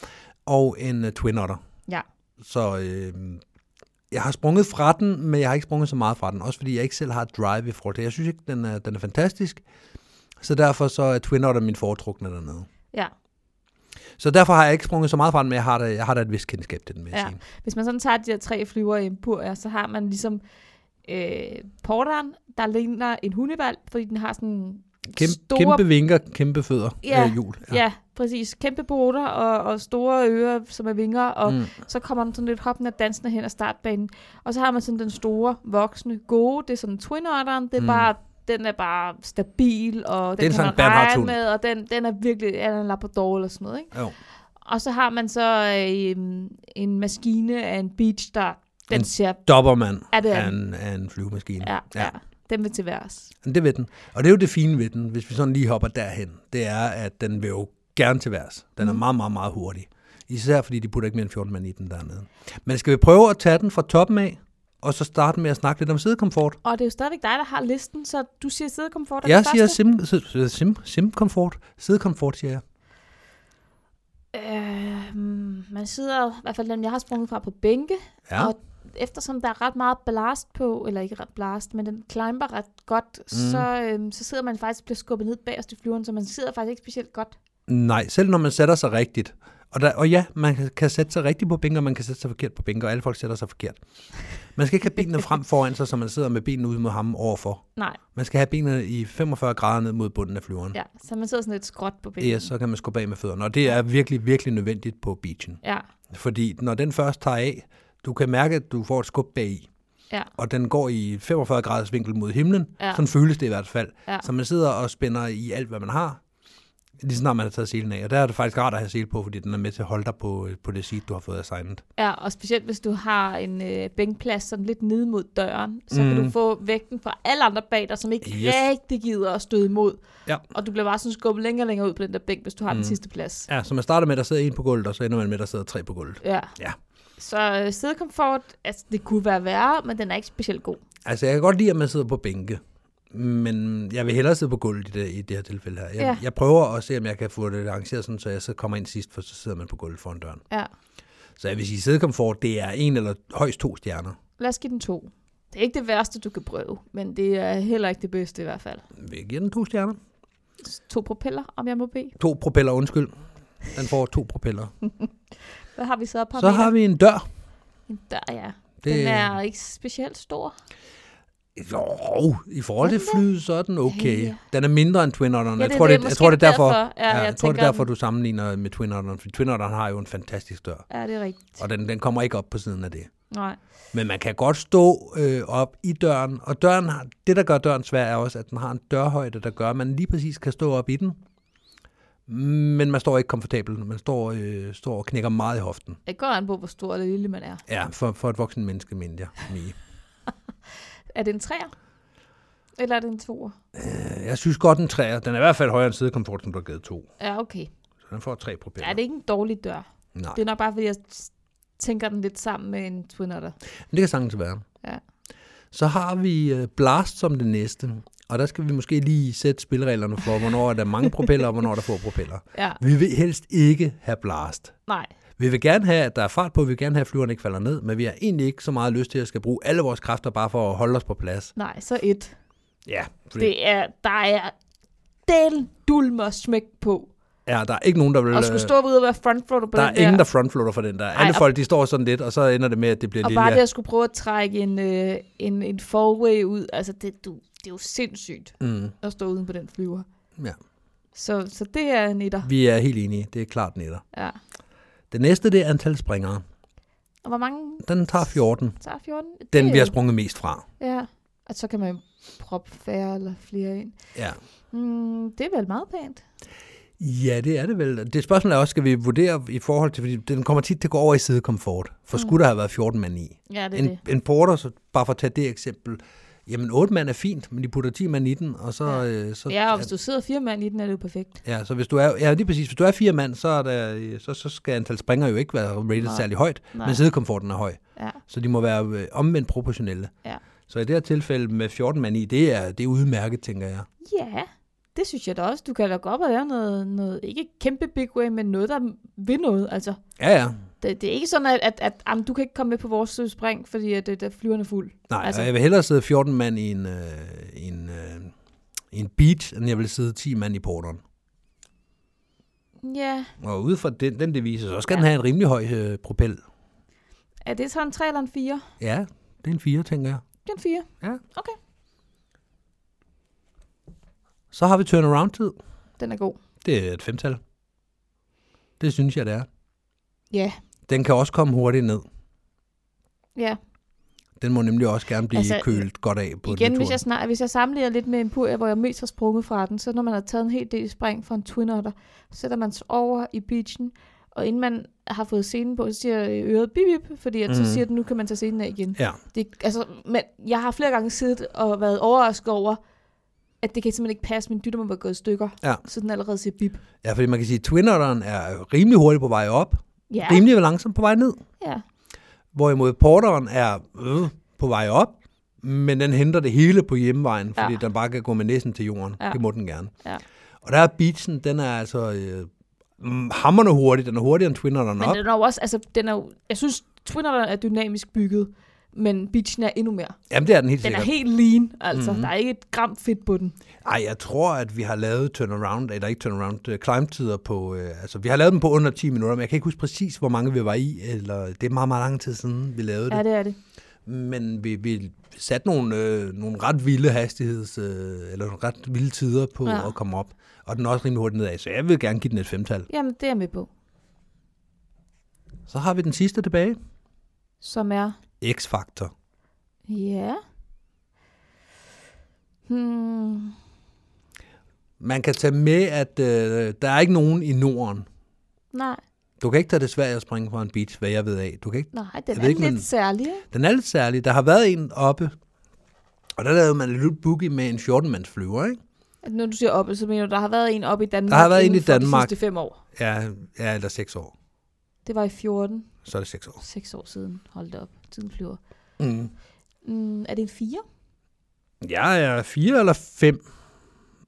C: og en uh, Twin Otter.
B: Ja.
C: Så øh, jeg har sprunget fra den, men jeg har ikke sprunget så meget fra den, også fordi jeg ikke selv har et drive i forhold til Jeg synes ikke, den er, den er fantastisk, så derfor så er Twin Otter min foretrukne dernede.
B: Ja.
C: Så derfor har jeg ikke sprunget så meget fra den, men jeg har da, jeg har da et vist kendskab til den, vil jeg
B: Ja.
C: sige.
B: Hvis man sådan tager de her tre flyver i Emporia, så har man ligesom øh, porteren, der ligner en hundevalg, fordi den har sådan
C: Kæmpe,
B: store...
C: kæmpe vinker, kæmpe fødder,
B: Ja,
C: øh, hjul.
B: Ja. ja, præcis. Kæmpe poter og, og store ører, som er vinger, og
C: Mm.
B: mm. så kommer den sådan lidt hoppende og dansende hen ad startbanen. Og så har man sådan den store, voksne, gode, det er sådan twin otteren, det er
C: Mm.
B: mm. bare den er bare stabil, og
C: Det er
B: den,
C: en
B: kan
C: Sankt
B: man regne
C: Bernhard-hund.
B: med, og den, den er virkelig er den en labrador eller sådan noget. Ikke?
C: Jo.
B: Og så har man så øh, en maskine af en beach, der den
C: En-
B: ser
C: dobbermand
B: Ja, det er
C: af
B: den.
C: en, af en flyvemaskine.
B: Ja, ja. ja. Den vil til værs.
C: Men Det ved den. Og det er jo det fine ved den, hvis vi sådan lige hopper derhen. Det er, at den vil jo gerne til værs. Den er
B: Mhm.
C: meget, meget, meget hurtig. Især fordi de putter ikke mere end 14 mand i den dernede. Men skal vi prøve at tage den fra toppen af, og så starte med at snakke lidt om sidekomfort?
B: Og det er jo stadigvæk dig, der har listen, så du siger sædekomfort er
C: Jeg
B: det
C: siger
B: første.
C: sim, sim, sim, simkomfort. Sidekomfort, siger jeg.
B: Øh, man sidder, i hvert fald dem, jeg har sprunget fra på bænke,
C: Ja,
B: Og eftersom der er ret meget blast på, eller ikke ret blast, men den climber ret godt, mm.
C: Mhm.
B: så, øhm, så sidder man faktisk og bliver skubbet ned bagerst i flyveren, så man sidder faktisk ikke specielt godt.
C: nej, selv når man sætter sig rigtigt. Og, der, og ja, man kan- kan sætte sig rigtigt på bænker, og man kan sætte sig forkert på bænker, og alle folk sætter sig forkert. Man skal ikke have benene frem foran sig, så man sidder med benene ud mod ham overfor.
B: Nej,
C: Man skal have benene i 45 grader ned mod bunden af flyveren.
B: ja, så man sidder sådan lidt skråt på
C: Ja,
B: benene.
C: så kan man skubbe af med fødderne. Og det er virkelig, virkelig nødvendigt på beachen.
B: Ja,
C: Fordi når den først tager af, du kan mærke, at du får et skub bag i.
B: ja,
C: og den går i 45 graders vinkel mod himlen.
B: Ja.
C: Ja. Sådan føles det i hvert fald.
B: Ja.
C: Ja. Så man sidder og spænder i alt, hvad man har, lige snart man har taget selen af. Og der er det faktisk rart at have sele på, fordi den er med til at holde dig på, øh, på det seat, du har fået assignet.
B: ja, og specielt hvis du har en øh, bænkplads sådan lidt nede mod døren, så mm. kan du få vægten fra alle andre bag dig, som ikke yes.
C: Mhm. Yes.
B: rigtig gider at støde imod.
C: Ja.
B: Og du bliver bare sådan skubbet længere og længere ud på den der bænk, hvis du har mm. den
C: Mhm.
B: sidste plads.
C: ja, så man starter med, at der sidder en på gulvet, og så ender man med, at der sidder tre på gulvet.
B: Ja.
C: Ja.
B: Så øh, sædekomfort, altså det kunne være værre, men den er ikke specielt god.
C: Altså, jeg kan godt lide, at man sidder på bænke. Men jeg vil hellere sidde på gulvet i det, i det her tilfælde her. Jeg,
B: Ja.
C: ja. jeg prøver at se, om jeg kan få det arrangeret sådan, så jeg så kommer ind sidst, for så sidder man på gulvet foran døren.
B: Ja.
C: Så jeg vil sige, sædekomfort, det er en eller højst to stjerner.
B: Lad os give den to. Det er ikke det værste, du kan prøve, men det er heller ikke det bedste i hvert fald.
C: Vi giver den to stjerner.
B: To propeller, om jeg må bede.
C: To propeller, undskyld. Den får to propeller.
B: Hvad har vi så på
C: Så har vi en dør.
B: En dør, ja.
C: Det-
B: Den er ikke specielt stor.
C: Jo, i forhold til flyet, så er den okay.
B: Ja.
C: Den er mindre end Twin Otteren.
B: Ja, det
C: Jeg
B: er
C: tror,
B: det.
C: det, jeg
B: Måske
C: tror, det er
B: det er
C: derfor,
B: derfor. Ja, jeg
C: jeg tror, det er
B: tænker,
C: derfor du sammenligner med Twin Otteren. For Twin Otteren har jo en fantastisk dør.
B: Ja, det er rigtigt.
C: Og den, den kommer ikke op på siden af det.
B: Nej.
C: Men man kan godt stå øh, op i døren. Og døren har, det, der gør døren svær, er også, at den har en dørhøjde, der gør, at man lige præcis kan stå op i den. Men man står ikke komfortabelt. Man står, øh, står og knækker meget i hoften.
B: Det går an på, hvor stor eller lille man er.
C: Ja, for, for et voksen menneske, mente jeg. Mie.
B: Er det en træer? Eller er det en toer?
C: Jeg synes godt, den træer. Den er i hvert fald højere end sidekomfort, som du har givet to.
B: Ja, okay.
C: Så den får tre propeller.
B: Ja, det er ikke en dårlig dør.
C: Nej,
B: Det er nok bare, fordi jeg s- tænker den lidt sammen med en twin otter.
C: men det kan sagtens være.
B: Ja.
C: Så har vi øh, Blast som det næste. Og der skal vi måske lige sætte spillereglerne for, hvornår er der mange propeller, og hvornår er der få propeller.
B: Ja,
C: Vi vil helst ikke have Blast.
B: nej.
C: Vi vil gerne have, at der er fart på, vi vil gerne have, at flyveren ikke falder ned, men vi har egentlig ikke så meget lyst til at skal bruge alle vores kræfter bare for at holde os på plads.
B: Nej, så et.
C: Ja, fordi det.
B: Det er, der er del dulmer smæk på.
C: Ja, der er ikke nogen, der vil...
B: Og skulle
C: øh,
B: stå ud og være frontfloater på
C: der er
B: den der.
C: ingen, der frontfloater for den der. Alle
B: og-
C: folk, de står sådan lidt, og så ender det med, at det bliver
B: og
C: lille.
B: bare det at skulle prøve at trække en, øh, en, en forway ud, altså det, du, det er jo sindssygt
C: Mm,
B: at stå uden på den flyver.
C: ja.
B: Så, så det er en etter.
C: Vi er helt enige. Det er klart netter.
B: Ja.
C: Det næste, det er antal springere.
B: Og hvor mange
C: Den tager 14.
B: tager 14? Det,
C: Den vi har sprunget mest fra.
B: Ja, og så kan man jo proppe færre eller flere ind.
C: Ja.
B: Mm, det er vel meget pænt.
C: Ja, det er det vel. Det spørgsmål er også, skal vi vurdere i forhold til, fordi den kommer tit til at gå over i sidekomfort. For skulle der have været 14 mand i?
B: Ja, Mm. det er
C: En,
B: det.
C: en porter, så bare for at tage det eksempel, jamen 8 mand er fint, men de putter 10 mand i den, og så...
B: Ja.
C: Ja, øh, så,
B: Ja, og hvis du sidder fire mand i den, er det jo perfekt.
C: ja så hvis du er, ja, lige præcis, hvis du er fire mand, så, er der, øh, så, så skal antal springer jo ikke være rated
B: Nej.
C: Nej. særlig højt,
B: Nej.
C: men sidekomforten er høj.
B: Ja,
C: Så de må være øh, omvendt proportionelle.
B: ja.
C: Så i det her tilfælde med 14 mand i, det er, det er udmærket, tænker jeg.
B: Ja, det synes jeg da også. Du kan da gå op og lave noget, noget ikke kæmpe big way, men noget, der vil noget. Altså,
C: Ja, ja.
B: det, det er ikke sådan, at, at, at jamen, du kan ikke komme med på vores spring, fordi at, at, at flyverne er fuld.
C: Nej,
B: Altså-
C: altså... jeg vil hellere sidde 14 mand i en, øh, i en, øh, i en beach, end jeg vil sidde 10 mand i porteren.
B: Ja,
C: Og ud fra den, den devise, så skal
B: Ja.
C: ja. den have en rimelig høj øh, propel.
B: er det så en 3 eller en 4?
C: Ja, det er en 4, tænker jeg.
B: Det er en 4.
C: Ja.
B: Okay.
C: Så har vi turnaround-tid.
B: Den er god.
C: Det er et femtal. Det synes jeg, det er.
B: Ja,
C: Den kan også komme hurtigt ned.
B: ja.
C: Den må nemlig også gerne blive
B: Altså,
C: altså, kølet godt af på
B: Igen,
C: den
B: hvis jeg, snak, hvis jeg sammenligner lidt med en pur, hvor jeg mest har sprunget fra den, så når man har taget en hel del spring fra en twin otter, så sætter man sig over i beachen, og inden man har fået scenen på, så siger øret bip, bip fordi at så
C: Mhm.
B: siger den, nu kan man tage scenen af igen.
C: Ja,
B: Det, altså, men jeg har flere gange siddet og været overrasket over, at det kan simpelthen ikke passe, min dynamo var gået i stykker.
C: Ja.
B: Så den allerede siger bip.
C: ja, fordi man kan sige, at twin Otteren er rimelig hurtigt på vej op,
B: Ja,
C: ja. rimelig langsomt på vej ned.
B: ja,
C: Hvorimod porteren er øh, på vej op, men den henter det hele på hjemvejen, fordi
B: Ja.
C: ja. den bare kan gå med næsen til jorden.
B: Ja.
C: Ja. Det må den gerne.
B: Ja.
C: Og der er beachen, den er altså øh, mm, hammerne hurtig. Den er hurtigere end Twinrunneren
B: Men
C: op.
B: den er jo også, altså, den er jo, jeg synes, Twitter er dynamisk bygget, men beachen er endnu mere.
C: Jamen, det er den helt
B: Den er
C: sikkert. Mhm.
B: helt lean, altså. Mm-hmm. Der er ikke et gram fedt på den.
C: Ej, jeg tror, at vi har lavet turnaround, eller ikke turnaround, uh, climb-tider på, øh, altså vi har lavet dem på under 10 minutter, men jeg kan ikke huske præcis, hvor mange vi var i, eller det er meget, meget lang tid siden, vi lavede
B: Ja,
C: det.
B: det er det.
C: Men vi, vi satte nogle, øh, nogle ret vilde hastigheds, øh, eller nogle ret vilde tider på
B: Ja.
C: ja. at komme op, og den er også rimelig hurtigt nedad, så jeg vil gerne give den et femtal.
B: Jamen, det er jeg med på.
C: Så har vi den sidste tilbage,
B: Som er,
C: X-Factor.
B: ja. Hmm.
C: Man kan tage med, at øh, der er ikke nogen i Norden.
B: Nej,
C: Du kan ikke tage det svært at springe fra en beach, hvad jeg ved af. Du kan ikke
B: nej, den
C: ved
B: er
C: ikke,
B: lidt
C: men-
B: særlig. ikke?
C: Den er lidt særlig. Der har været en oppe, og der lavede man en lille boogie med en 14-mands flyver, ikke?
B: At Når du siger op, så mener du, der har været en op i Danmark.
C: Der har været en i
B: inden for
C: Danmark.
B: De sidste fem år.
C: Ja, ja eller 6 år.
B: Det var i 14,
C: Så er det 6 år.
B: 6 år siden. Hold da op, tiden flyver.
C: Mm.
B: Mm, er det en 4?
C: Jeg er 4 eller 5.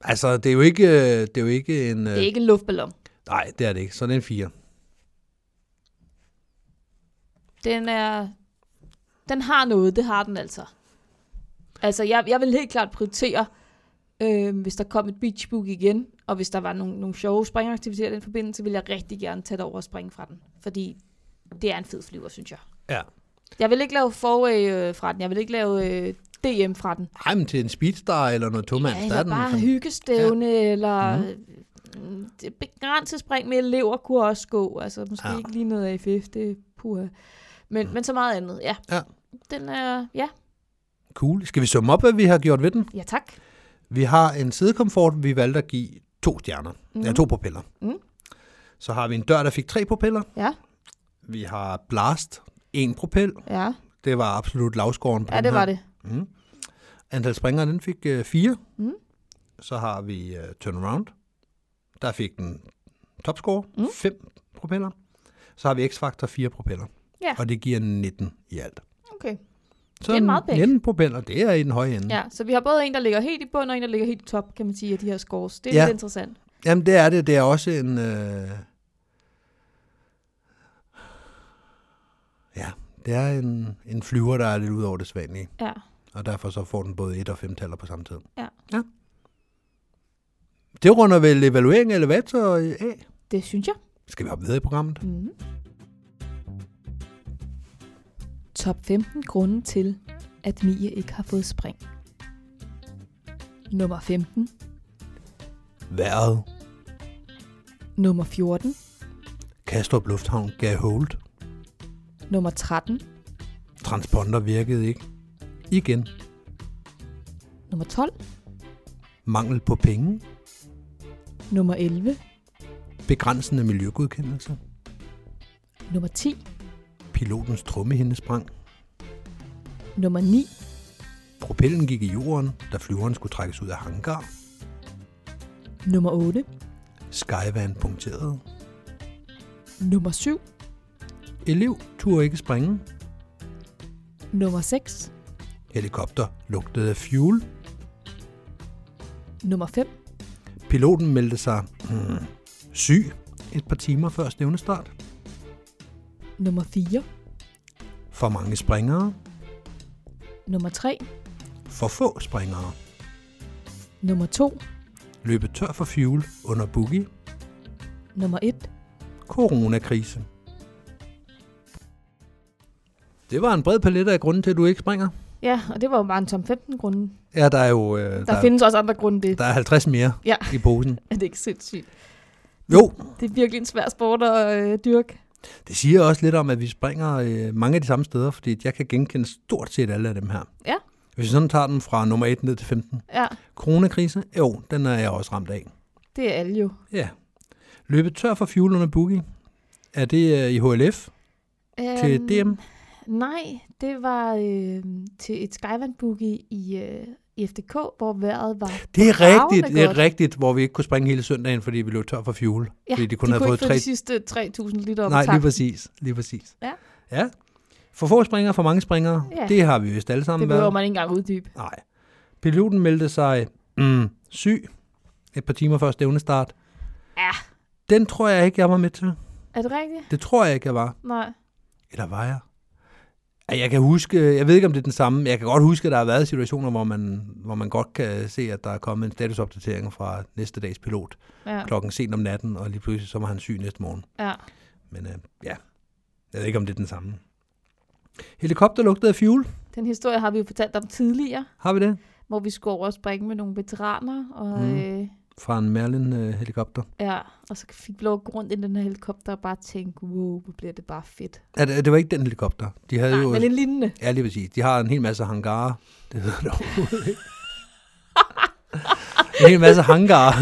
C: Altså, det er jo ikke, øh, det er jo ikke en... øh,
B: Det er ikke en luftballon.
C: Nej, det er det ikke. Så er det en 4.
B: Den er... Den har noget, det har den altså. Altså, jeg, jeg vil helt klart prioritere, øh, hvis der kom et beach book igen, og hvis der var nogle, nogle sjove springaktiviteter i den forbindelse, vil jeg rigtig gerne tage det over og springe fra den. Fordi det er en fed flyver, synes jeg.
C: Ja.
B: Jeg vil ikke lave forway øh, fra den, jeg vil ikke lave øh, DM fra den.
C: Ej, men til en speedstar eller noget tomands,
B: Ja,
C: der er
B: eller
C: den. Mhm.
B: bare
C: sådan-
B: hyggestævne, ja. eller mm. begrænset spring med elever kunne også gå. Altså måske ja.
C: Ja. Mhm.
B: ikke lige noget AFF, det er puha. Men, mm. men så meget andet, ja.
C: Ja.
B: Den er, ja,
C: Cool. Skal vi summe op, hvad vi har gjort ved den?
B: ja tak.
C: Vi har en sidekomfort, vi valgte at give to stjerner. Mm. Ja, to propeller.
B: Mm.
C: Så har vi en dør, der fik tre propeller.
B: Ja,
C: Vi har blast, en propel.
B: ja.
C: Det var absolut lavskåren på
B: ja
C: den Mhm.
B: det
C: her.
B: var det.
C: Mm. Antal springere, den fik øh, fire.
B: Mm.
C: Så har vi øh, turnaround. Der fik den topscore, mm. fem propeller. Så har vi X-Factor, fire propeller.
B: Ja.
C: Og det giver 19 i alt.
B: Okay.
C: Så
B: Det er meget pænt.
C: 19 propeller, det er i den høje ende.
B: Ja, så vi har både en, der ligger helt i bund, og en, der ligger helt i top, kan man sige, af de her scores. Det er ja.
C: Ja.
B: lidt interessant.
C: Jamen det er det, det er også en... Øh... Ja, det er en, en flyver, der er lidt ud over det svanlige.
B: Ja.
C: Og derfor så får den både et og fem taller på samme tid.
B: Ja.
C: ja. Det runder vel evaluering af elevator øh, af.
B: Det synes jeg.
C: Skal vi hoppe videre i programmet?
B: Mm. Top 15 grunde til, at Mie ikke har fået spring. Nummer 15.
C: Været.
B: Nummer 14.
C: Kastrup Lufthavn gav hold.
B: Nummer 13.
C: Transponder virkede ikke. Igen.
B: Nummer 12.
C: Mangel på penge.
B: Nummer 11.
C: Begrænsende miljøgodkendelse.
B: Nummer 10.
C: Pilotens trummehinde sprang.
B: Nummer 9.
C: Propellen gik i jorden, da flyveren skulle trækkes ud af hangar.
B: Nummer 8.
C: Skyvan punkterede.
B: Nummer 7.
C: Elev turde ikke springe.
B: Nummer 6.
C: Helikopter lugtede af fuel.
B: Nummer 5.
C: Piloten meldte sig hmm, syg et par timer før stævnestart.
B: Nummer 4.
C: For mange springere.
B: Nummer 3.
C: For få springere.
B: Nummer 2.
C: Løbe tør for fuel under boogie.
B: Nummer 1.
C: Coronakrise. Det var en bred palette af grunde til, at du ikke springer.
B: Ja, og det var jo bare en top 15 grunde.
C: Ja, der er jo øh, der,
B: Der,
C: der,
B: findes også andre grunde det.
C: der er 50 mere
B: Ja.
C: i posen.
B: Er det ikke sindssygt?
C: Jo,
B: Det er virkelig en svær sport at øh, dyrke.
C: Det siger også lidt om, at vi springer øh, mange af de samme steder, fordi jeg kan genkende stort set alle af dem her.
B: Ja.
C: Hvis vi sådan tager dem fra nummer 1 ned til 15.
B: Ja,
C: Coronakrisen, jo, den er jeg også ramt af.
B: det er alle jo.
C: Ja. Løbet tør for fuel under boogie. Er det øh, i HLF til
B: Øhm,
C: DM?
B: Nej, det var øh, til et skyvand i, øh, i FDK, hvor vejret var
C: Det er
B: bravende
C: rigtigt, det er
B: godt.
C: rigtigt, hvor vi ikke kunne springe hele søndagen, fordi vi løb tør for fuel. fordi de kun havde fået
B: ikke
C: tre...
B: de sidste 3.000 liter op
C: Nej,
B: i tanken.
C: lige præcis, lige præcis.
B: Ja.
C: ja. For få springere, for mange springere,
B: Ja.
C: det har vi vist alle sammen
B: Det
C: været.
B: behøver man ikke engang uddybe.
C: Nej. Piloten meldte sig mm, syg et par timer før stævnestart.
B: Ja,
C: Den tror jeg ikke, jeg var med til.
B: Er det rigtigt?
C: Det tror jeg ikke, jeg var.
B: Nej.
C: Eller var jeg? Ej, Jeg kan huske, jeg ved ikke, om det er den samme, men jeg kan godt huske, at der har været situationer, hvor man, hvor man godt kan se, at der er kommet en statusopdatering fra næste dags pilot
B: Ja.
C: klokken sent om natten, og lige pludselig så var han syg næste morgen.
B: ja.
C: Men øh, ja, jeg ved ikke, om det er den samme. Helikopter lugtede af fuel.
B: Den historie har vi jo fortalt om tidligere,
C: Har vi det?
B: hvor vi skulle over og springe med nogle veteraner, og,
C: Mm.
B: mm. øh,
C: Fra en øh, Merlin-helikopter.
B: ja, og så fik vi lov at gå rundt i den her helikopter og bare tænke, wow, hvor bliver det bare fedt.
C: Ja, det, det var ikke den helikopter. De havde
B: Nej,
C: jo...
B: men en lignende.
C: Ja, lige præcis. De har en hel masse hangarer. Det hedder det overhovedet
B: [laughs]
C: ikke. En hel masse hangarer,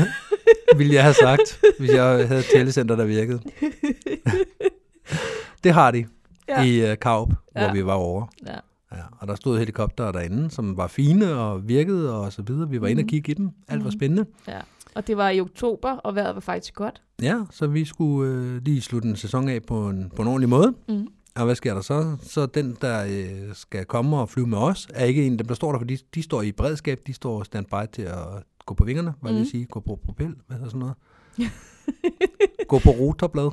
C: ville jeg have sagt, hvis jeg havde et telecenter, der virkede. det har de
B: Ja.
C: ja. i uh, Kaup, ja.
B: Ja.
C: hvor vi var over.
B: Ja.
C: Ja, og der stod helikoptere derinde, som var fine og virkede og så videre. Vi var inde og
B: Mhm.
C: kigge i dem. Alt var
B: Mhm.
C: spændende.
B: Og det var i oktober, og vejret var faktisk godt.
C: Ja, så vi skulle øh, lige slutte en sæson af på en, på en ordentlig måde.
B: Mm.
C: Og hvad sker der så? Så den, der øh, skal komme og flyve med os, er ikke en af dem, der står der, for de, de står i beredskab, de står standby til at gå på vingerne, hvad mm. vil
B: Mhm.
C: jeg sige, gå på propel, hvad hedder sådan
B: [laughs]
C: noget? gå på rotorblad.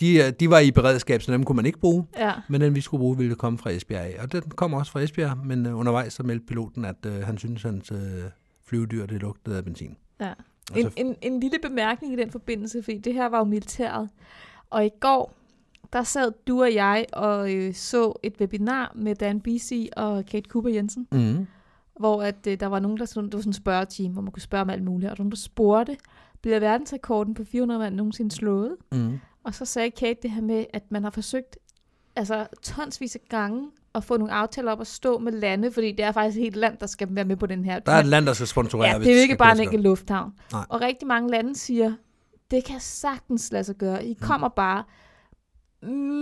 C: De, øh, de var i beredskab, så dem kunne man ikke bruge,
B: Ja.
C: men den vi skulle bruge ville komme fra Esbjerg af. Og den kom også fra Esbjerg, men øh, undervejs så meldte piloten, at øh, han syntes, hans øh, flyvedyr det lugtede af benzin.
B: Ja.
C: Og
B: En,
C: så,
B: en, en lille bemærkning i den forbindelse, fordi det her var jo militæret. Og i går, der sad du og jeg og øh, så et webinar med Dan BC og Kate Cooper Jensen,
C: mm,
B: hvor at, øh, der var nogen, der sådan, det var sådan en spørgeteam, hvor man kunne spørge om alt muligt, og der var nogen, der spurgte, bliver verdensrekorden på 400 mand nogensinde slået?
C: mm,
B: Og så sagde Kate det her med, at man har forsøgt altså tonsvis af gange at få nogle aftaler op at stå med lande, fordi det er faktisk et helt land, der skal være med på den her.
C: der er et land, der skal sponsorere.
B: Ja,
C: hvis
B: det er jo
C: skal
B: ikke
C: kunne
B: bare en
C: lade sig gøre.
B: enkelt lufthavn.
C: Nej.
B: Og rigtig mange lande siger, det kan sagtens lade sig gøre. I kommer bare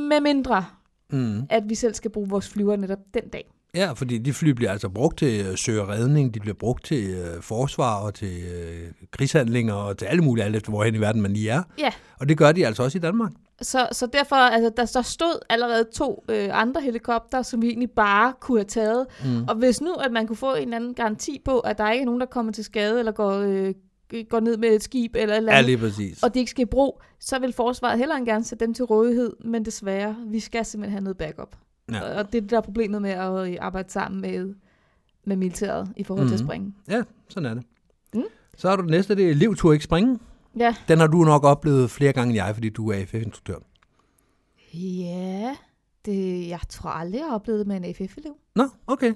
B: med mindre,
C: Mm.
B: at vi selv skal bruge vores flyver netop den dag.
C: Ja, fordi de fly bliver altså brugt til øh, søg og redning, de bliver brugt til øh, forsvar og til øh, krigshandlinger og til alle mulige, alt efter hvorhen i verden man lige er.
B: Ja.
C: Og det gør de altså også i Danmark.
B: Så, så derfor, altså, der, der stod allerede to øh, andre helikopter, som vi egentlig bare kunne have taget.
C: Mm.
B: Og hvis nu, at man kunne få en eller anden garanti på, at der ikke er nogen, der kommer til skade, eller går, øh, går ned med et skib eller et eller
C: Ja,
B: andet,
C: lige præcis.
B: og de ikke skal i brug, så vil forsvaret heller end gerne sætte dem til rådighed, men desværre, vi skal simpelthen have noget backup.
C: Ja.
B: Og- Og det er det, der er problemet med at øh, arbejde sammen med, med militæret i forhold mm-hmm. til at
C: Mhm.
B: springe.
C: Ja, sådan er det.
B: Mm.
C: Så har du det næste, det er Liv turde ikke springe.
B: Ja.
C: Den har du nok oplevet flere gange end jeg, fordi du er AFF-instruktør.
B: Ja, det, jeg tror aldrig, jeg har oplevet det med en FF-elev.
C: Nå, okay.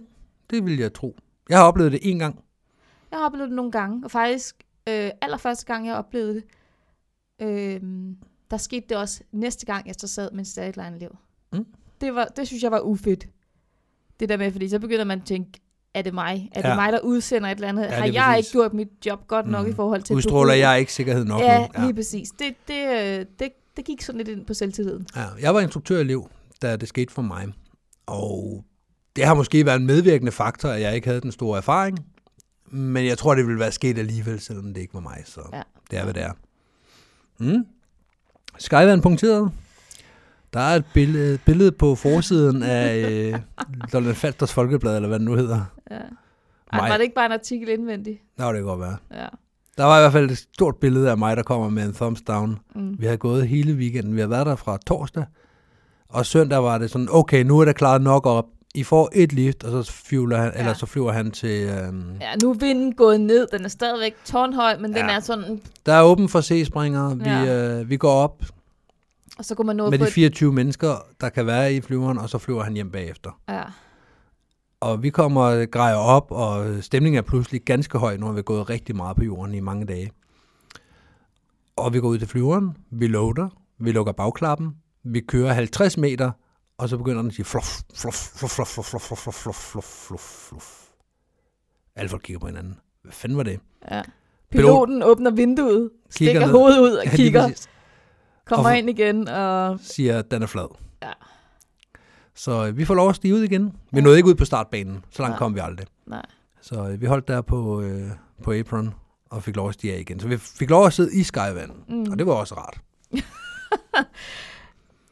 C: Det vil jeg tro. Jeg har oplevet det én gang.
B: Jeg har oplevet det nogle gange, og faktisk øh, allerførste gang, jeg oplevede det, øh, der skete det også næste gang, jeg så sad med en stadig elev.
C: Mm.
B: Det, var, det synes jeg var ufedt. Det der med, fordi så begynder man at tænke, er det mig? Er det
C: Ja.
B: mig, der udsender et eller andet?
C: Ja,
B: Har
C: lige
B: jeg
C: præcis.
B: ikke gjort mit job godt nok
C: Mm.
B: i forhold til... at
C: Udstråler
B: du-
C: jeg ikke sikkerhed nok
B: Ja,
C: nu?
B: lige præcis. Det, det, øh, det, det gik sådan lidt ind på selvtilliden.
C: Ja, jeg var instruktørelev, da det skete for mig. Og det har måske været en medvirkende faktor, at jeg ikke havde den store erfaring. Men jeg tror, det ville være sket alligevel, selvom det ikke var mig. Så
B: Ja.
C: ja. det er, hvad det er. Mm. Skyvand punkteret. Der er et billede, billede på forsiden af øh, Lolland Falsters Folkeblad, eller hvad det nu hedder.
B: Ja. Ej,
C: Mig.
B: var det ikke bare en artikel indvendig?
C: Der var det kan godt være.
B: Ja.
C: Der var i hvert fald et stort billede af mig, der kommer med en thumbs down.
B: Mm.
C: Vi har gået hele weekenden. Vi har været der fra torsdag, og søndag var det sådan, okay, nu er det klaret nok op. I får et lift, og så flyver han, ja. eller så flyver han til... Øhm, ja.
B: Ja, nu er vinden gået ned. Den er stadigvæk tårnhøj, men ja. den
C: Ja.
B: er sådan...
C: Der er åben for C-springere. Vi, ja. øh, vi går op
B: Og så kunne man nå
C: med
B: på
C: de 24 mennesker, der kan være i flyveren, og så flyver han hjem bagefter.
B: Ja.
C: Og vi kommer og grejer op, og stemningen er pludselig ganske høj, nu har vi gået rigtig meget på jorden i mange dage. Og vi går ud til flyveren, vi loader, vi lukker bagklappen, vi kører 50 meter, og så begynder den at sige fluff, fluff, fluff, fluff, fluff, fluff, fluff, fluff, fluff, fluff, fluff. Alle folk kigger på hinanden. Hvad fanden var det?
B: ja. Piloten åbner vinduet, stikker
C: ned.
B: hovedet ud og
C: Ja, lige
B: kigger,
C: præcis.
B: kommer
C: Og-
B: ind igen, og
C: siger, at den er flad.
B: Ja.
C: Så øh, vi får lov at stige ud igen. Vi
B: Ja.
C: nåede ikke ud på startbanen, så langt
B: Nej.
C: kom vi aldrig.
B: Nej.
C: Så øh, vi holdt der på, øh, på apron og fik lov at stige af igen. Så vi fik lov at sidde i skyvandet,
B: Mm.
C: mm. og det var også rart.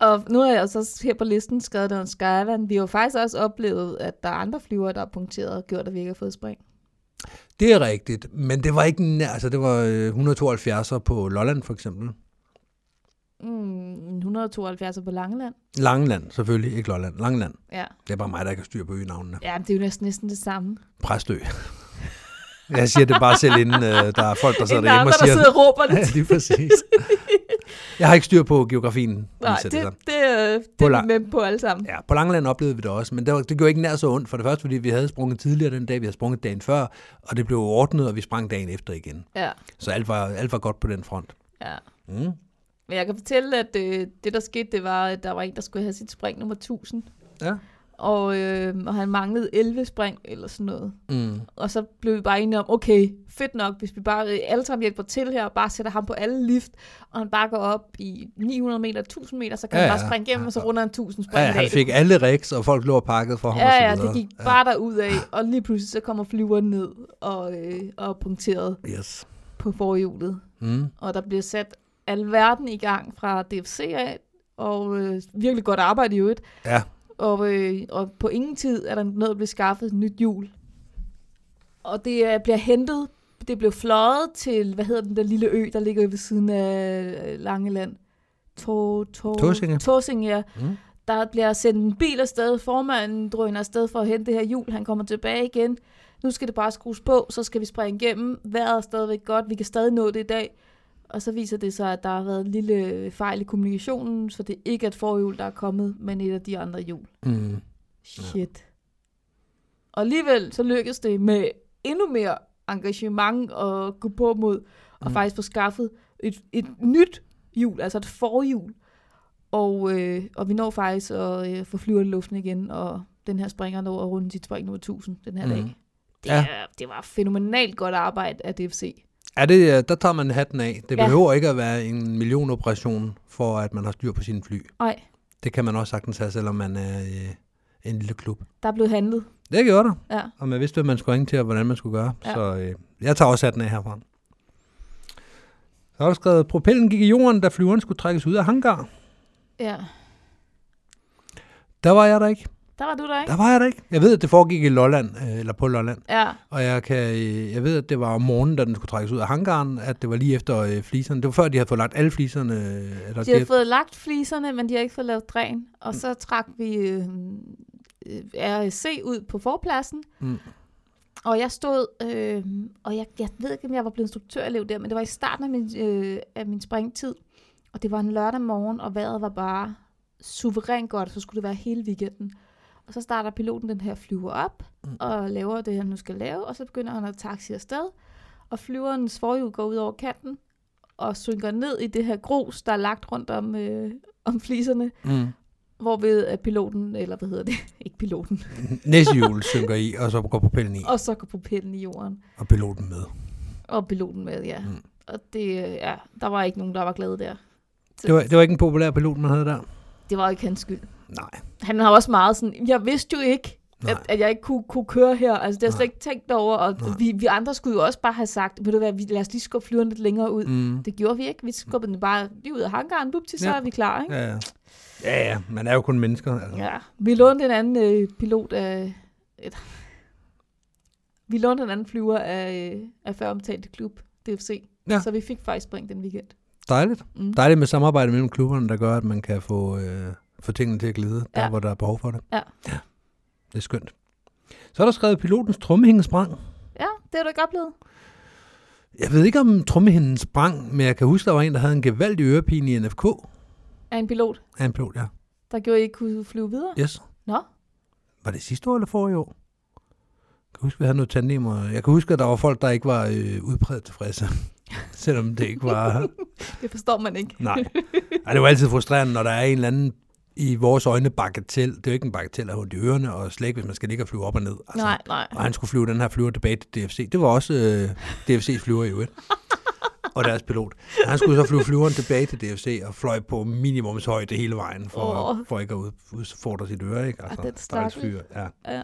B: Og nu har jeg så her på listen skrevet noget om Skyvan. Vi har jo faktisk også oplevet, at der er andre flyvere, der er punkteret og gjort, at vi ikke har fået spring.
C: Det er rigtigt, men det var ikke nær, altså det var øh, 172'er på Lolland for eksempel.
B: Mm, en 172 på Langeland.
C: Langeland, selvfølgelig, ikke Lolland. Langeland.
B: Ja.
C: Det er bare mig, der ikke har styr på øgenavnene.
B: ja, men det er jo næsten, næsten det samme.
C: Præstø. [laughs] Jeg siger det bare selv, inden øh, der
B: [laughs]
C: er folk, der sidder
B: Inden
C: derhjemme og
B: andre, der
C: siger...
B: sidder og råber det.
C: [laughs] Ja, lige præcis. Jeg har ikke styr på geografien. lige
B: Nej,
C: selv
B: det,
C: sådan.
B: det, øh, det
C: På
B: er vi
C: lang-
B: med på alle sammen.
C: Ja, på Langeland oplevede vi det også, men det, var, det gjorde ikke nær så ondt. For det første, fordi vi havde sprunget tidligere den dag, vi havde sprunget dagen før, og det blev ordnet, og vi sprang dagen efter igen.
B: Ja,
C: Så alt var, alt var godt på den front.
B: ja.
C: Mm.
B: Men jeg kan fortælle, at øh, det, der skete, det var, at der var en, der skulle have sit spring nummer 1000.
C: Ja.
B: Og, øh, og han manglede 11 spring eller sådan noget.
C: Mm.
B: Og så blev vi bare enige om, okay, fedt nok, hvis vi bare øh, alle sammen hjælper til her, og bare sætter ham på alle lift, og han bare går op i 900 meter, 1000 meter, så kan
C: Ja,
B: ja, han
C: ja.
B: bare springe igennem, og så runder han 1000 spring.
C: Ja,
B: i dag.
C: han fik alle rigs, og folk lå og pakket for ham. og så
B: Ja, ja, det
C: videre.
B: gik bare derudad, og lige pludselig så kommer flyveren ned og, øh, og punkteret
C: Yes.
B: på forhjulet.
C: Mm.
B: Og der bliver sat alverden i gang fra DFC af, og øh, virkelig godt arbejde i øvrigt.
C: Ja.
B: Og, øh, og på ingen tid er der noget at blive skaffet et nyt hjul. Og det øh, bliver hentet, det blev fløjet til, hvad hedder den der lille ø, der ligger ved siden af øh, Langeland? To, to,
C: Tåsinge.
B: Tåsinge, ja.
C: Mm.
B: Der bliver sendt en bil afsted, formanden drøner afsted for at hente det her hjul, han kommer tilbage igen. Nu skal det bare skrues på, så skal vi springe igennem. Vejret er stadigvæk godt, vi kan stadig nå det i dag. Og så viser det sig, at der har været en lille fejl i kommunikationen, så det ikke er et forhjul, der er kommet, men et af de andre hjul.
C: Mm.
B: Shit. Og alligevel så lykkedes det med endnu mere engagement og gå på mod, og
C: Mm.
B: mm. faktisk få skaffet et, et nyt hjul, altså et forhjul. Og, øh, og vi når faktisk at øh, få flyveren i luften igen, og den her springer når at runde sit spring nummer 1000 den her mm. dag.
C: Mm.
B: Det,
C: Ja.
B: er, det var fænomenalt godt arbejde af DFC.
C: Er det, øh, der tager man hatten af. Det
B: Ja.
C: behøver ikke at være en millionoperation, for at man har styr på sine fly.
B: Nej,
C: Det kan man også sagtens have, selvom man er øh, en lille klub.
B: der blev handlet.
C: Det gjorde der,
B: Ja.
C: og man vidste, hvad man skulle ringe til, og hvordan man skulle gøre. Ja.
B: Ja.
C: Så øh, jeg tager også hatten af herfra. Så har du skrevet, propellen gik i jorden, da flyveren skulle trækkes ud af hangar.
B: ja.
C: Der var jeg der ikke.
B: Der var du der, ikke?
C: Der var jeg der ikke. Jeg ved, at det foregik i Lolland, øh, eller på Lolland.
B: Ja,
C: Og jeg, kan, øh, jeg ved, at det var om morgenen, da den skulle trækkes ud af hangaren, at det var lige efter øh, fliserne. Det var før, de havde fået lagt alle fliserne. øh, Eller
B: De har fået lagt fliserne, men de har ikke fået lavet dræn. Og
C: Mm.
B: så trak vi øh, øh, RSC ud på forpladsen.
C: Mm.
B: Og jeg stod, øh, og jeg, jeg ved ikke, om jeg var blevet instruktørelev der, men det var i starten af min, øh, af min springtid. Og det var en lørdag morgen, og vejret var bare suverænt godt, så skulle det være hele weekenden. Og så starter piloten den her flyver op,
C: Mm.
B: og laver det, han nu skal lave, og så begynder han at taxi afsted. Og flyverens forhjul går ud over kanten, og synker ned i det her grus, der er lagt rundt om, øh, om fliserne,
C: Mm.
B: hvorved at piloten, eller hvad hedder det, [laughs] ikke piloten,
C: Næste hjul synker i, og så går propellen i,
B: og så går propellen i jorden,
C: og piloten med.
B: og piloten med, ja.
C: Mm.
B: Mm. Og det, øh, ja, der var ikke nogen, der var glade der.
C: Det var, det var ikke en populær pilot, man havde der.
B: Det var ikke hans skyld.
C: Nej.
B: Han har også meget sådan, jeg vidste jo ikke,
C: Nej.
B: at, at, jeg ikke kunne, kunne køre her. Altså, det har jeg
C: Nej.
B: slet ikke tænkt over, og
C: Nej.
B: vi, vi, andre skulle jo også bare have sagt, ved du hvad, vi, lad os lige skubbe flyveren lidt længere ud. Mm.
C: Mm.
B: Det gjorde vi ikke. Vi skubbede den bare lige ud af hangaren, bup til, så
C: Ja.
B: ja. er vi klar, ikke?
C: Ja, ja. ja, ja. Man er jo kun mennesker. Altså. Ja.
B: Ja, vi lånte en anden øh, pilot af... Et, vi lånte en anden flyver af, øh, af før omtalte klub, DFC.
C: Ja.
B: Ja. Så vi fik faktisk spring den weekend.
C: Dejligt.
B: Mm.
C: Dejligt med samarbejde mellem klubberne, der gør, at man kan få, øh, få tingene til at glide, der
B: Ja.
C: hvor der er behov for det.
B: Ja.
C: ja. Det er skønt. Så er der skrevet, pilotens trommehænge sprang.
B: Ja, det har du ikke oplevet.
C: Jeg ved ikke, om trommehinden sprang, men jeg kan huske, der var en, der havde en gevaldig ørepine i NFK.
B: Af en pilot,
C: Af en pilot, ja.
B: der gjorde, at I ikke kunne flyve videre.
C: Yes.
B: Nå.
C: Var det sidste år eller forrige år? Jeg kan huske, vi havde noget tandem, og jeg kan huske, at der var folk, der ikke var øh, udpræget tilfredse. [laughs] Selvom det ikke var...
B: Det forstår man ikke.
C: Nej. Ej, det var altid frustrerende, når der er en eller anden i vores øjne bagatell. Det er jo ikke en bagatell at have ondt i ørerne, og slet ikke, hvis man skal ligge og flyve op og ned. Altså,
B: Nej, nej.
C: [laughs] Og han skulle flyve den her flyver tilbage til DFC. Det var også øh, DFC's flyver i øvrigt. Og deres pilot. Og han skulle så flyve flyveren tilbage til DFC og fløj på minimumshøjde hele vejen, for, oh.
B: Åh.
C: for ikke at ud- udfordre sit øre. Ikke? Altså,
B: den
C: stakkels
B: stakkel.
C: fyr. Ja.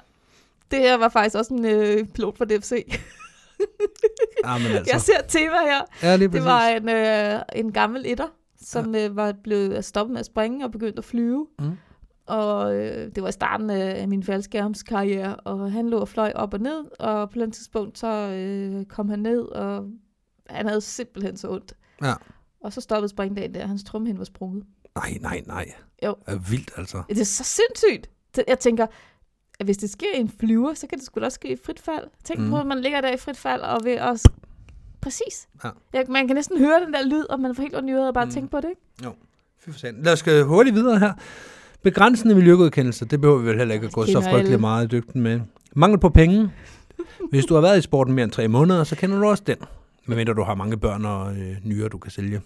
B: Det her var faktisk også en øh, pilot fra DFC.
C: Ja, men
B: [laughs] Jeg
C: altså.
B: ser et tema her.
C: Ja, lige præcis.
B: Det var en, øh, en gammel etter, som øh, var blevet stoppet med at springe og begyndt at flyve.
C: Mm.
B: Og øh, det var i starten af af min faldskærmskarriere, og han lå og fløj op og ned, og på et eller andet tidspunkt så øh, kom han ned, og han havde simpelthen så ondt.
C: Ja.
B: Og så stoppede springdagen der. Hans trumhinde var sprunget.
C: Nej, nej, nej.
B: Jo.
C: Det er vildt, altså.
B: Det er så sindssygt. Det- Jeg tænker, at hvis det sker i en flyver, så kan det sgu da også ske i frit fald. Tænk
C: Mm.
B: mm. på, at man ligger der i frit fald og ved os. Præcis.
C: Ja.
B: Jeg, man kan næsten høre den der lyd, og man får helt ondt i øret og bare
C: Mm.
B: mm. tænke på det. Ikke?
C: Fy for satan. Lad os gå hurtigt videre her. Begrænsende miljøgodkendelser, det behøver vi vel heller ikke at gå så
B: Kender
C: frygtelig
B: alle.
C: meget i dybden med. Mangel på penge. Hvis du har været i sporten mere end tre måneder, så kender du også den. Medmindre du har mange børn og øh, nyere, du kan
B: [laughs]
C: sælge.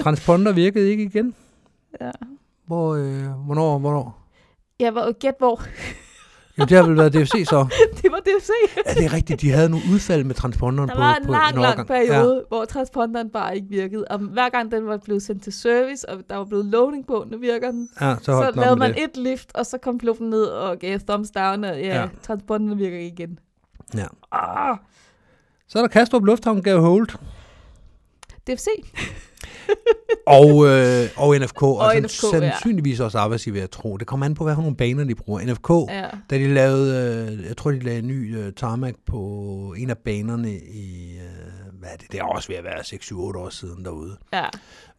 C: Transponder virkede ikke igen.
B: Ja.
C: Hvor, øh, hvornår, hvornår?
B: Jeg var jo gæt, hvor [laughs]
C: Jamen, det har vel været DFC så.
B: det var DFC.
C: Ja, det er rigtigt. De havde nogle udfald med transponderen
B: Der
C: på,
B: var en
C: på
B: lang,
C: en
B: lang
C: overgang.
B: periode, ja. hvor transponderen bare ikke virkede. Og hver gang den var blevet sendt til service, og der var blevet lovning på, nu virker den,
C: Ja, ja, så,
B: så
C: holdt den op
B: lavede
C: med
B: man
C: det.
B: et lift, og så kom piloten ned og gav thumbs down, og ja,
C: Ja.
B: ja. transponderen virker ikke igen.
C: Ja.
B: Ah,
C: Så er der Kastrup Lufthavn gav hold.
B: DFC.
C: og, øh, og NFK, og, og
B: Og
C: NFK,
B: NFK,
C: sandsynligvis også Abbasi, vil jeg tro. Det kommer an på, hvad for nogle baner de bruger. NFK, ja.
B: Ja.
C: da de lavede, øh, jeg tror, de lavede en ny øh, tarmac på en af banerne i, øh, hvad er det, det er også ved at være 6-7-8 år siden derude,
B: Ja,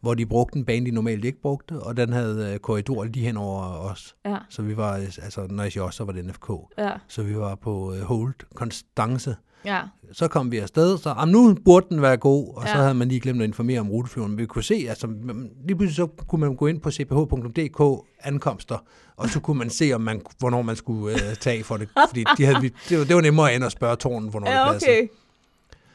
C: hvor de brugte en bane, de normalt ikke brugte, og den havde øh, korridor lige hen over os.
B: ja,
C: Så vi var, øh, altså når jeg siger os, så var det NFK.
B: ja,
C: Så vi var på øh, Hold, Konstance.
B: ja.
C: Så kom vi afsted, så ah, nu burde den være god, og ja. så
B: Ja.
C: havde man lige glemt at informere om ruteflyveren. Men Vi kunne se, altså man- lige pludselig så kunne man gå ind på cph.dk ankomster, og så kunne man se, om man, hvornår man skulle øh, tage for det. Fordi de havde, vi- det, var, det var nemmere end at spørge tårnen, hvornår
B: Ja,
C: det passede.
B: okay.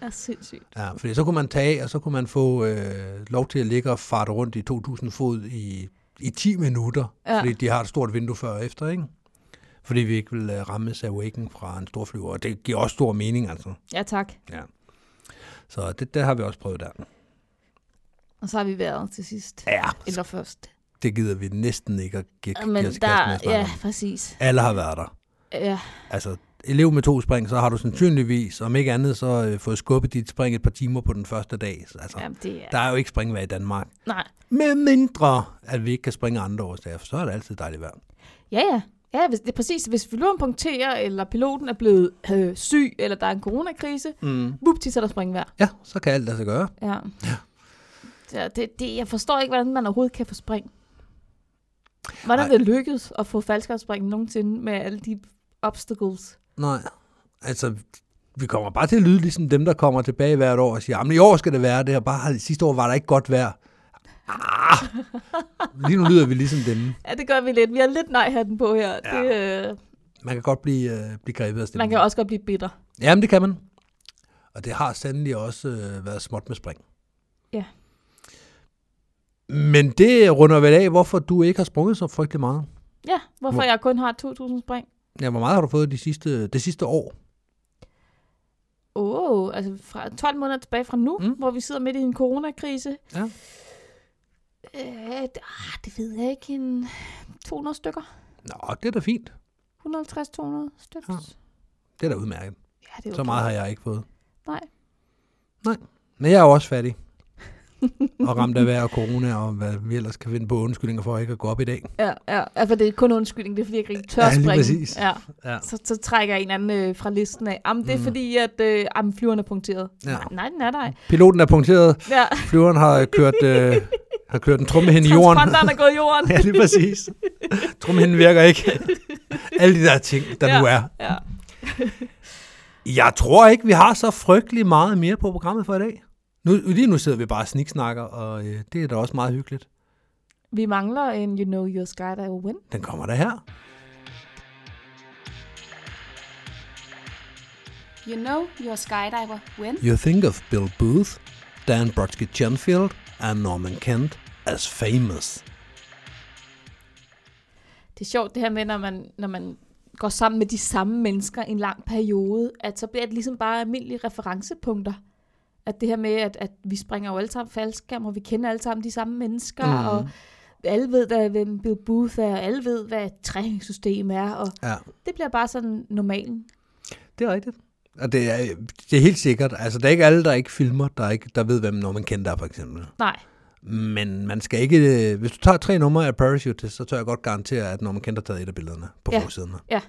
B: Ja, sindssygt.
C: Ja, fordi så kunne man tage, og så kunne man få øh, lov til at ligge og farte rundt i 2.000 fod i, i 10 minutter, ja.
B: Ja.
C: fordi de har et stort vindue før og efter, ikke? Fordi vi ikke vil øh, rammes af waken fra en storflyver, og det giver også stor mening, altså.
B: Ja, tak.
C: Så det, det har vi også prøvet der.
B: Og så har vi været til sidst.
C: Ja,
B: Eller først.
C: det gider vi næsten ikke at give gi-
B: Men der, ja,
C: ja.
B: præcis.
C: Alle har været der.
B: Ja,
C: Altså, elev med to spring, så har du sandsynligvis, om ikke andet, så øh, fået skubbet dit spring et par timer på den første dag. Så, Altså, ja.
B: jamen, det er...
C: der er jo ikke springvejr i Danmark.
B: Nej.
C: Med mindre, at vi ikke kan springe andre årsager, for så er det altid dejligt vejr.
B: Ja, ja. Ja, hvis, det er præcis. Hvis piloten punkterer, eller piloten er blevet øh, syg, eller der er en coronakrise,
C: Mm.
B: vupti, så er der springvejr.
C: Ja, så kan alt lade sig gøre.
B: Ja. ja det, det, jeg forstår ikke, hvordan man overhovedet kan få spring. Hvordan
C: Nej.
B: det lykkedes at få faldskabsspring nogensinde med alle de obstacles?
C: Nej, altså, vi kommer bare til at lyde ligesom dem, der kommer tilbage hvert år og siger, jamen i år skal det være det, og bare "Ah, sidste år var der ikke godt vejr. Ah! Lige nu lyder vi ligesom dem.
B: Ja, det gør vi lidt. Vi har lidt nej-hatten på her. Ja. Det, øh,
C: Man kan godt blive, øh, blive grebet af
B: man
C: stemningen.
B: kan også godt blive bitter.
C: Jamen, det kan man. Og det har sandelig også øh, været småt med spring.
B: Ja.
C: Men det runder vel af, hvorfor du ikke har sprunget så frygtelig meget.
B: Ja, hvorfor
C: Hvor-
B: jeg kun har 2.000 spring.
C: Ja, hvor meget har du fået de sidste, det sidste år?
B: Åh, oh, altså fra 12 måneder tilbage fra nu,
C: Mm.
B: mm. hvor vi sidder midt i en coronakrise.
C: Ja.
B: Øh, det, ah, det ved jeg ikke. En 200 stykker.
C: Nå, det er da fint.
B: 150-200 stykker.
C: Ja. Det er da udmærket.
B: Ja, det er
C: Så
B: okay.
C: meget har jeg ikke fået.
B: Nej.
C: Nej. Men jeg er jo også fattig. [laughs] og ramt af vejr og corona, og hvad vi ellers kan finde på undskyldninger for ikke at gå op i dag.
B: Ja, ja. ja, for det er kun undskyldning. Det er, fordi jeg ikke rigtig tør
C: Ja, lige
B: springe.
C: præcis.
B: Ja.
C: Ja.
B: Så, så trækker jeg en anden øh, fra listen af. Jamen, det er
C: Mm.
B: mm. fordi, at øh, jamen, flyveren er punkteret.
C: Ja.
B: Nej, den er der ikke.
C: Piloten er punkteret,
B: Ja.
C: flyveren har kørt, øh, har kørt en tromme hen i jorden.
B: Transponderen er gået i jorden.
C: [laughs] Ja, lige præcis. Trumhinden virker ikke. Alle de der ting, der ja. nu er.
B: ja.
C: Jeg tror ikke, vi har så frygtelig meget mere på programmet for i dag. Nu, lige nu sidder vi bare og sniksnakker, og øh, det er da også meget hyggeligt.
B: Vi mangler en You Know Your Skydiver Win.
C: Den kommer da her.
D: You know you're a skydiver when?
C: You think of Bill Booth, Dan Brodsky Chenfield and Norman Kent as famous.
B: Det er sjovt det her med, når man, når man går sammen med de samme mennesker i en lang periode, at så bliver det ligesom bare almindelige referencepunkter. At det her med, at, at vi springer jo alle sammen faldskærm, og vi kender alle sammen de samme mennesker,
C: Mhm.
B: mm. og alle ved, hvad, hvem Bill Booth er, og alle ved, hvad et træningssystem er, og
C: Ja,
B: det bliver bare sådan normalen.
C: det er rigtigt. Og det er, det er helt sikkert. Altså, der er ikke alle, der ikke filmer, der, ikke, der ved, hvem Norman Kent er, for eksempel.
B: Nej,
C: Men man skal ikke... øh, Hvis du tager tre numre af Parachute, så tør jeg godt garantere, at når man kender taget et af billederne på ja.
B: Ja.
C: forsiden.
B: Ja.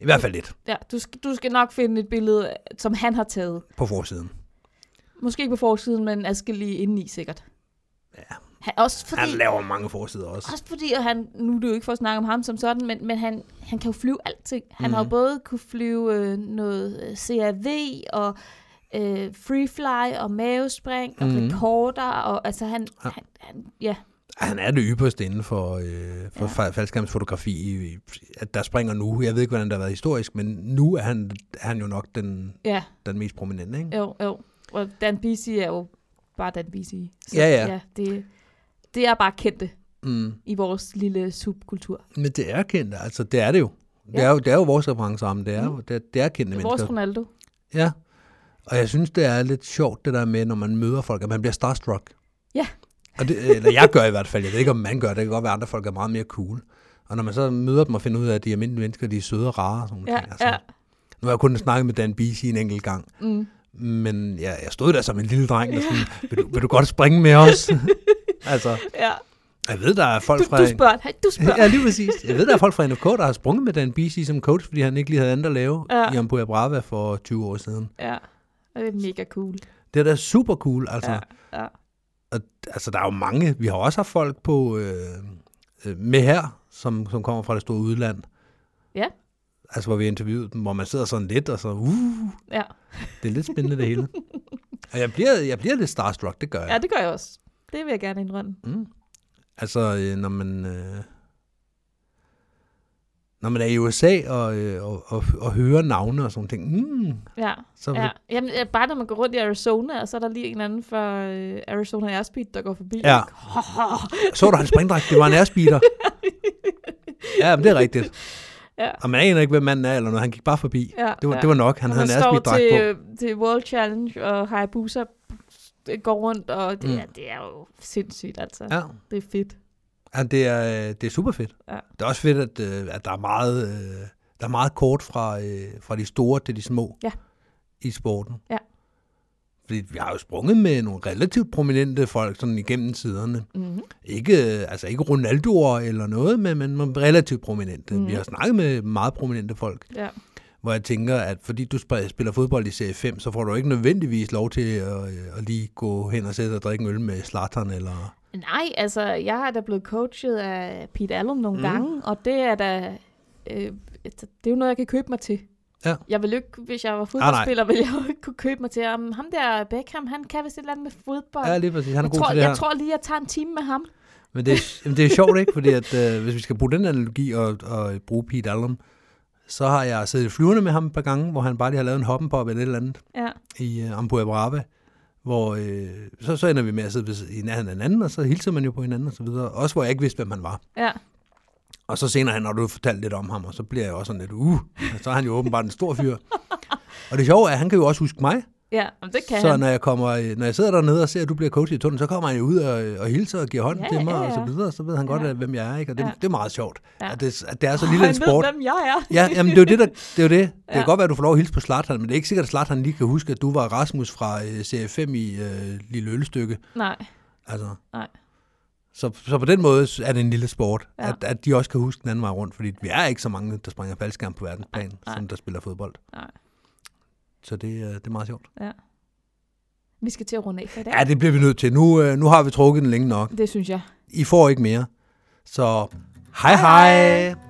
C: I hvert fald et
B: ja, du, skal, du skal nok finde et billede, som han har taget.
C: på forsiden.
B: Måske ikke på forsiden, men adskillige indeni sikkert.
C: Ja.
B: Han, også fordi,
C: Han laver mange forsider også.
B: også fordi at han, nu er det jo ikke for at snakke om ham som sådan, men, men han, han kan jo flyve alting. Han mm. har jo
C: Mhm.
B: både kunne flyve øh, noget øh, CRV og øh, freefly og mavespring og
C: Mhm.
B: mm. rekorder. Og, altså han, ja.
C: Ja.
B: han, han, ja.
C: Han er det ypperste inden for, øh, for ja. faldskærmsfotografi, at der springer nu. Jeg ved ikke, hvordan det har været historisk, men nu er han, er han jo nok den,
B: ja,
C: den mest prominente. Ikke?
B: jo, jo. Og Dan Bisi er jo bare Dan Bisi.
C: Ja, ja.
B: ja det, det er bare kendte
C: Mm.
B: i vores lille subkultur.
C: Men det er kendte, altså det er det jo. Det er jo, det er jo vores referenceramme, det er, mm. det, det er kendte
B: Det er
C: mennesker.
B: vores Ronaldo.
C: Ja, og jeg synes, det er lidt sjovt, det der med, når man møder folk, at man bliver starstruck.
B: Ja.
C: Og det, eller jeg gør i hvert fald. Jeg ved ikke, om man gør det. Det kan godt være, at andre folk er meget mere cool. Og når man så møder dem og finder ud af, at de er almindelige mennesker, de er søde og rare. og Sådan nogle
B: Ja,
C: ting, altså.
B: ja.
C: Nu har jeg kun snakket med Dan Bisi en enkelt gang.
B: Mm.
C: Men ja, jeg stod der som en lille dreng, der sådan, vil, du, vil du godt springe med
B: [laughs]
C: os? altså,
B: ja.
C: jeg ved, der er folk
B: Du,
C: fra...
B: du spørger. Hey,
C: [laughs]
B: du spørger.
C: Ja, lige præcis. Jeg ved, der er folk fra NFK, der har sprunget med Dan Bisi som coach, fordi han ikke lige havde andet at lave
B: Ja.
C: ja. i Ampuja Brava for 20 år siden.
B: Ja, og det er mega cool.
C: Det er da super cool, altså.
B: Ja, ja.
C: Og, altså, der er jo mange. Vi har også haft folk på øh, øh, med her, som, som kommer fra det store udland.
B: Ja.
C: Altså, hvor vi interviewede dem, hvor man sidder sådan lidt og så, uh,
B: Ja.
C: det er lidt spændende det hele. Og jeg bliver, jeg bliver lidt starstruck, det gør jeg.
B: ja, det gør jeg også. Det vil jeg gerne indrømme.
C: Mm. Altså, øh, når man... Øh, når man er i USA og, øh, og, og, og hører navne og sådan ting, mm,
B: Ja,
C: så
B: ja. Jamen, ja, bare når man går rundt i Arizona, og så er der lige en anden fra øh, Arizona Airspeed, der går forbi. [laughs]
C: Ja. så du hans springdragt, det var en airspeeder. Ja, men det er rigtigt.
B: [laughs] Ja.
C: Og man aner ikke, hvem manden er eller noget. Han gik bare forbi.
B: Ja,
C: Det var,
B: ja.
C: det var nok. Han
B: Og
C: havde
B: man
C: en
B: står
C: airspeed-dragt
B: til,
C: på.
B: øh, til World Challenge, og Hayabusa går rundt, og det,
C: Mm.
B: mm. er, det er jo sindssygt, altså. Ja.
C: Ja.
B: Det er fedt.
C: ja det, er, øh, det er super fedt.
B: Ja.
C: Det er også fedt, at, øh, at der, er meget, øh, der er meget kort fra, øh, fra de store til de små
B: Ja.
C: i sporten.
B: Ja.
C: Fordi vi har jo sprunget med nogle relativt prominente folk sådan igennem tiderne.
B: Mm-hmm.
C: Ikke, øh, altså ikke Ronaldoer eller noget, men, men nogle relativt prominente.
B: Mm.
C: Mm. Vi har snakket med meget prominente folk.
B: Ja.
C: hvor jeg tænker, at fordi du sp- spiller fodbold i Serie 5, så får du ikke nødvendigvis lov til at, øh, at lige gå hen og sætte dig og drikke en øl med Zlatan eller...
B: Nej, altså, jeg er da blevet coachet af Pete Allum nogle mm.
C: Mm.
B: gange, og det er da... Øh, altså, det er jo noget, jeg kan købe mig til.
C: Ja. Ah,
B: Jeg ville jo ikke, hvis jeg var fodboldspiller, ville jeg jo ikke kunne købe mig til. Um, ham der Beckham, han kan vist et eller andet med fodbold.
C: Ja, lige præcis. Han er
B: jeg
C: god
B: tror,
C: til det her.
B: jeg tror lige, jeg tager en time med ham.
C: Men det er, men det er sjovt, ikke? Fordi at, øh, hvis vi skal bruge den analogi og, og bruge Pete Allum, så har jeg siddet i flyverne med ham et par gange, hvor han bare lige har lavet en hoppenpop eller et eller andet
B: Ja.
C: i øh, Ampuja Brava, hvor øh, så, så ender vi med at sidde ved, siden- i nærheden af hinanden, og så hilser man jo på hinanden og så videre. Også hvor jeg ikke vidste, hvem han var.
B: Ja.
C: Og så senere, hen, når du fortalt lidt om ham, og så bliver jeg også sådan lidt, uh, så er han jo åbenbart en
B: [laughs]
C: stor fyr. Og det sjove er, at han kan jo også huske mig.
B: Ja, men det kan
C: så
B: han.
C: når jeg, kommer, øh, når jeg sidder dernede og ser, at du bliver coach i tunnelen, så kommer han jo ud og, og hilser og giver hånd
B: Ja,
C: ja, til mig
B: ja, ja.
C: og så videre. Så ved han ja. godt, at, hvem jeg er. Ikke? Og det,
B: Ja.
C: ja. det er meget sjovt,
B: Ja.
C: ja. at, det, at det er så
B: Åh,
C: lille en
B: han
C: sport.
B: ved, hvem jeg er.
C: Ja, jamen det er jo det, der, det, er jo det. det
B: Ja.
C: kan godt være, at du får lov at hilse på Zlatan, men det er ikke sikkert, at Zlatan lige kan huske, at du var Rasmus fra øh, Serie 5 i øh, Lille Ølstykke.
B: [laughs] Nej,
C: Altså.
B: Nej.
C: Så, så på den måde er det en lille sport,
B: Ja.
C: ja. at, at de også kan huske den anden vej rundt, fordi vi er ikke så mange, der springer faldskærm på verdensplan,
B: nej.
C: som der spiller fodbold.
B: Nej.
C: Så det, øh, det er meget sjovt.
B: vi skal til at runde af for i dag.
C: Ja, det bliver vi nødt til. Nu, øh, nu har vi trukket den længe nok.
B: det synes jeg.
C: I får ikke mere. Så hej hej! hej.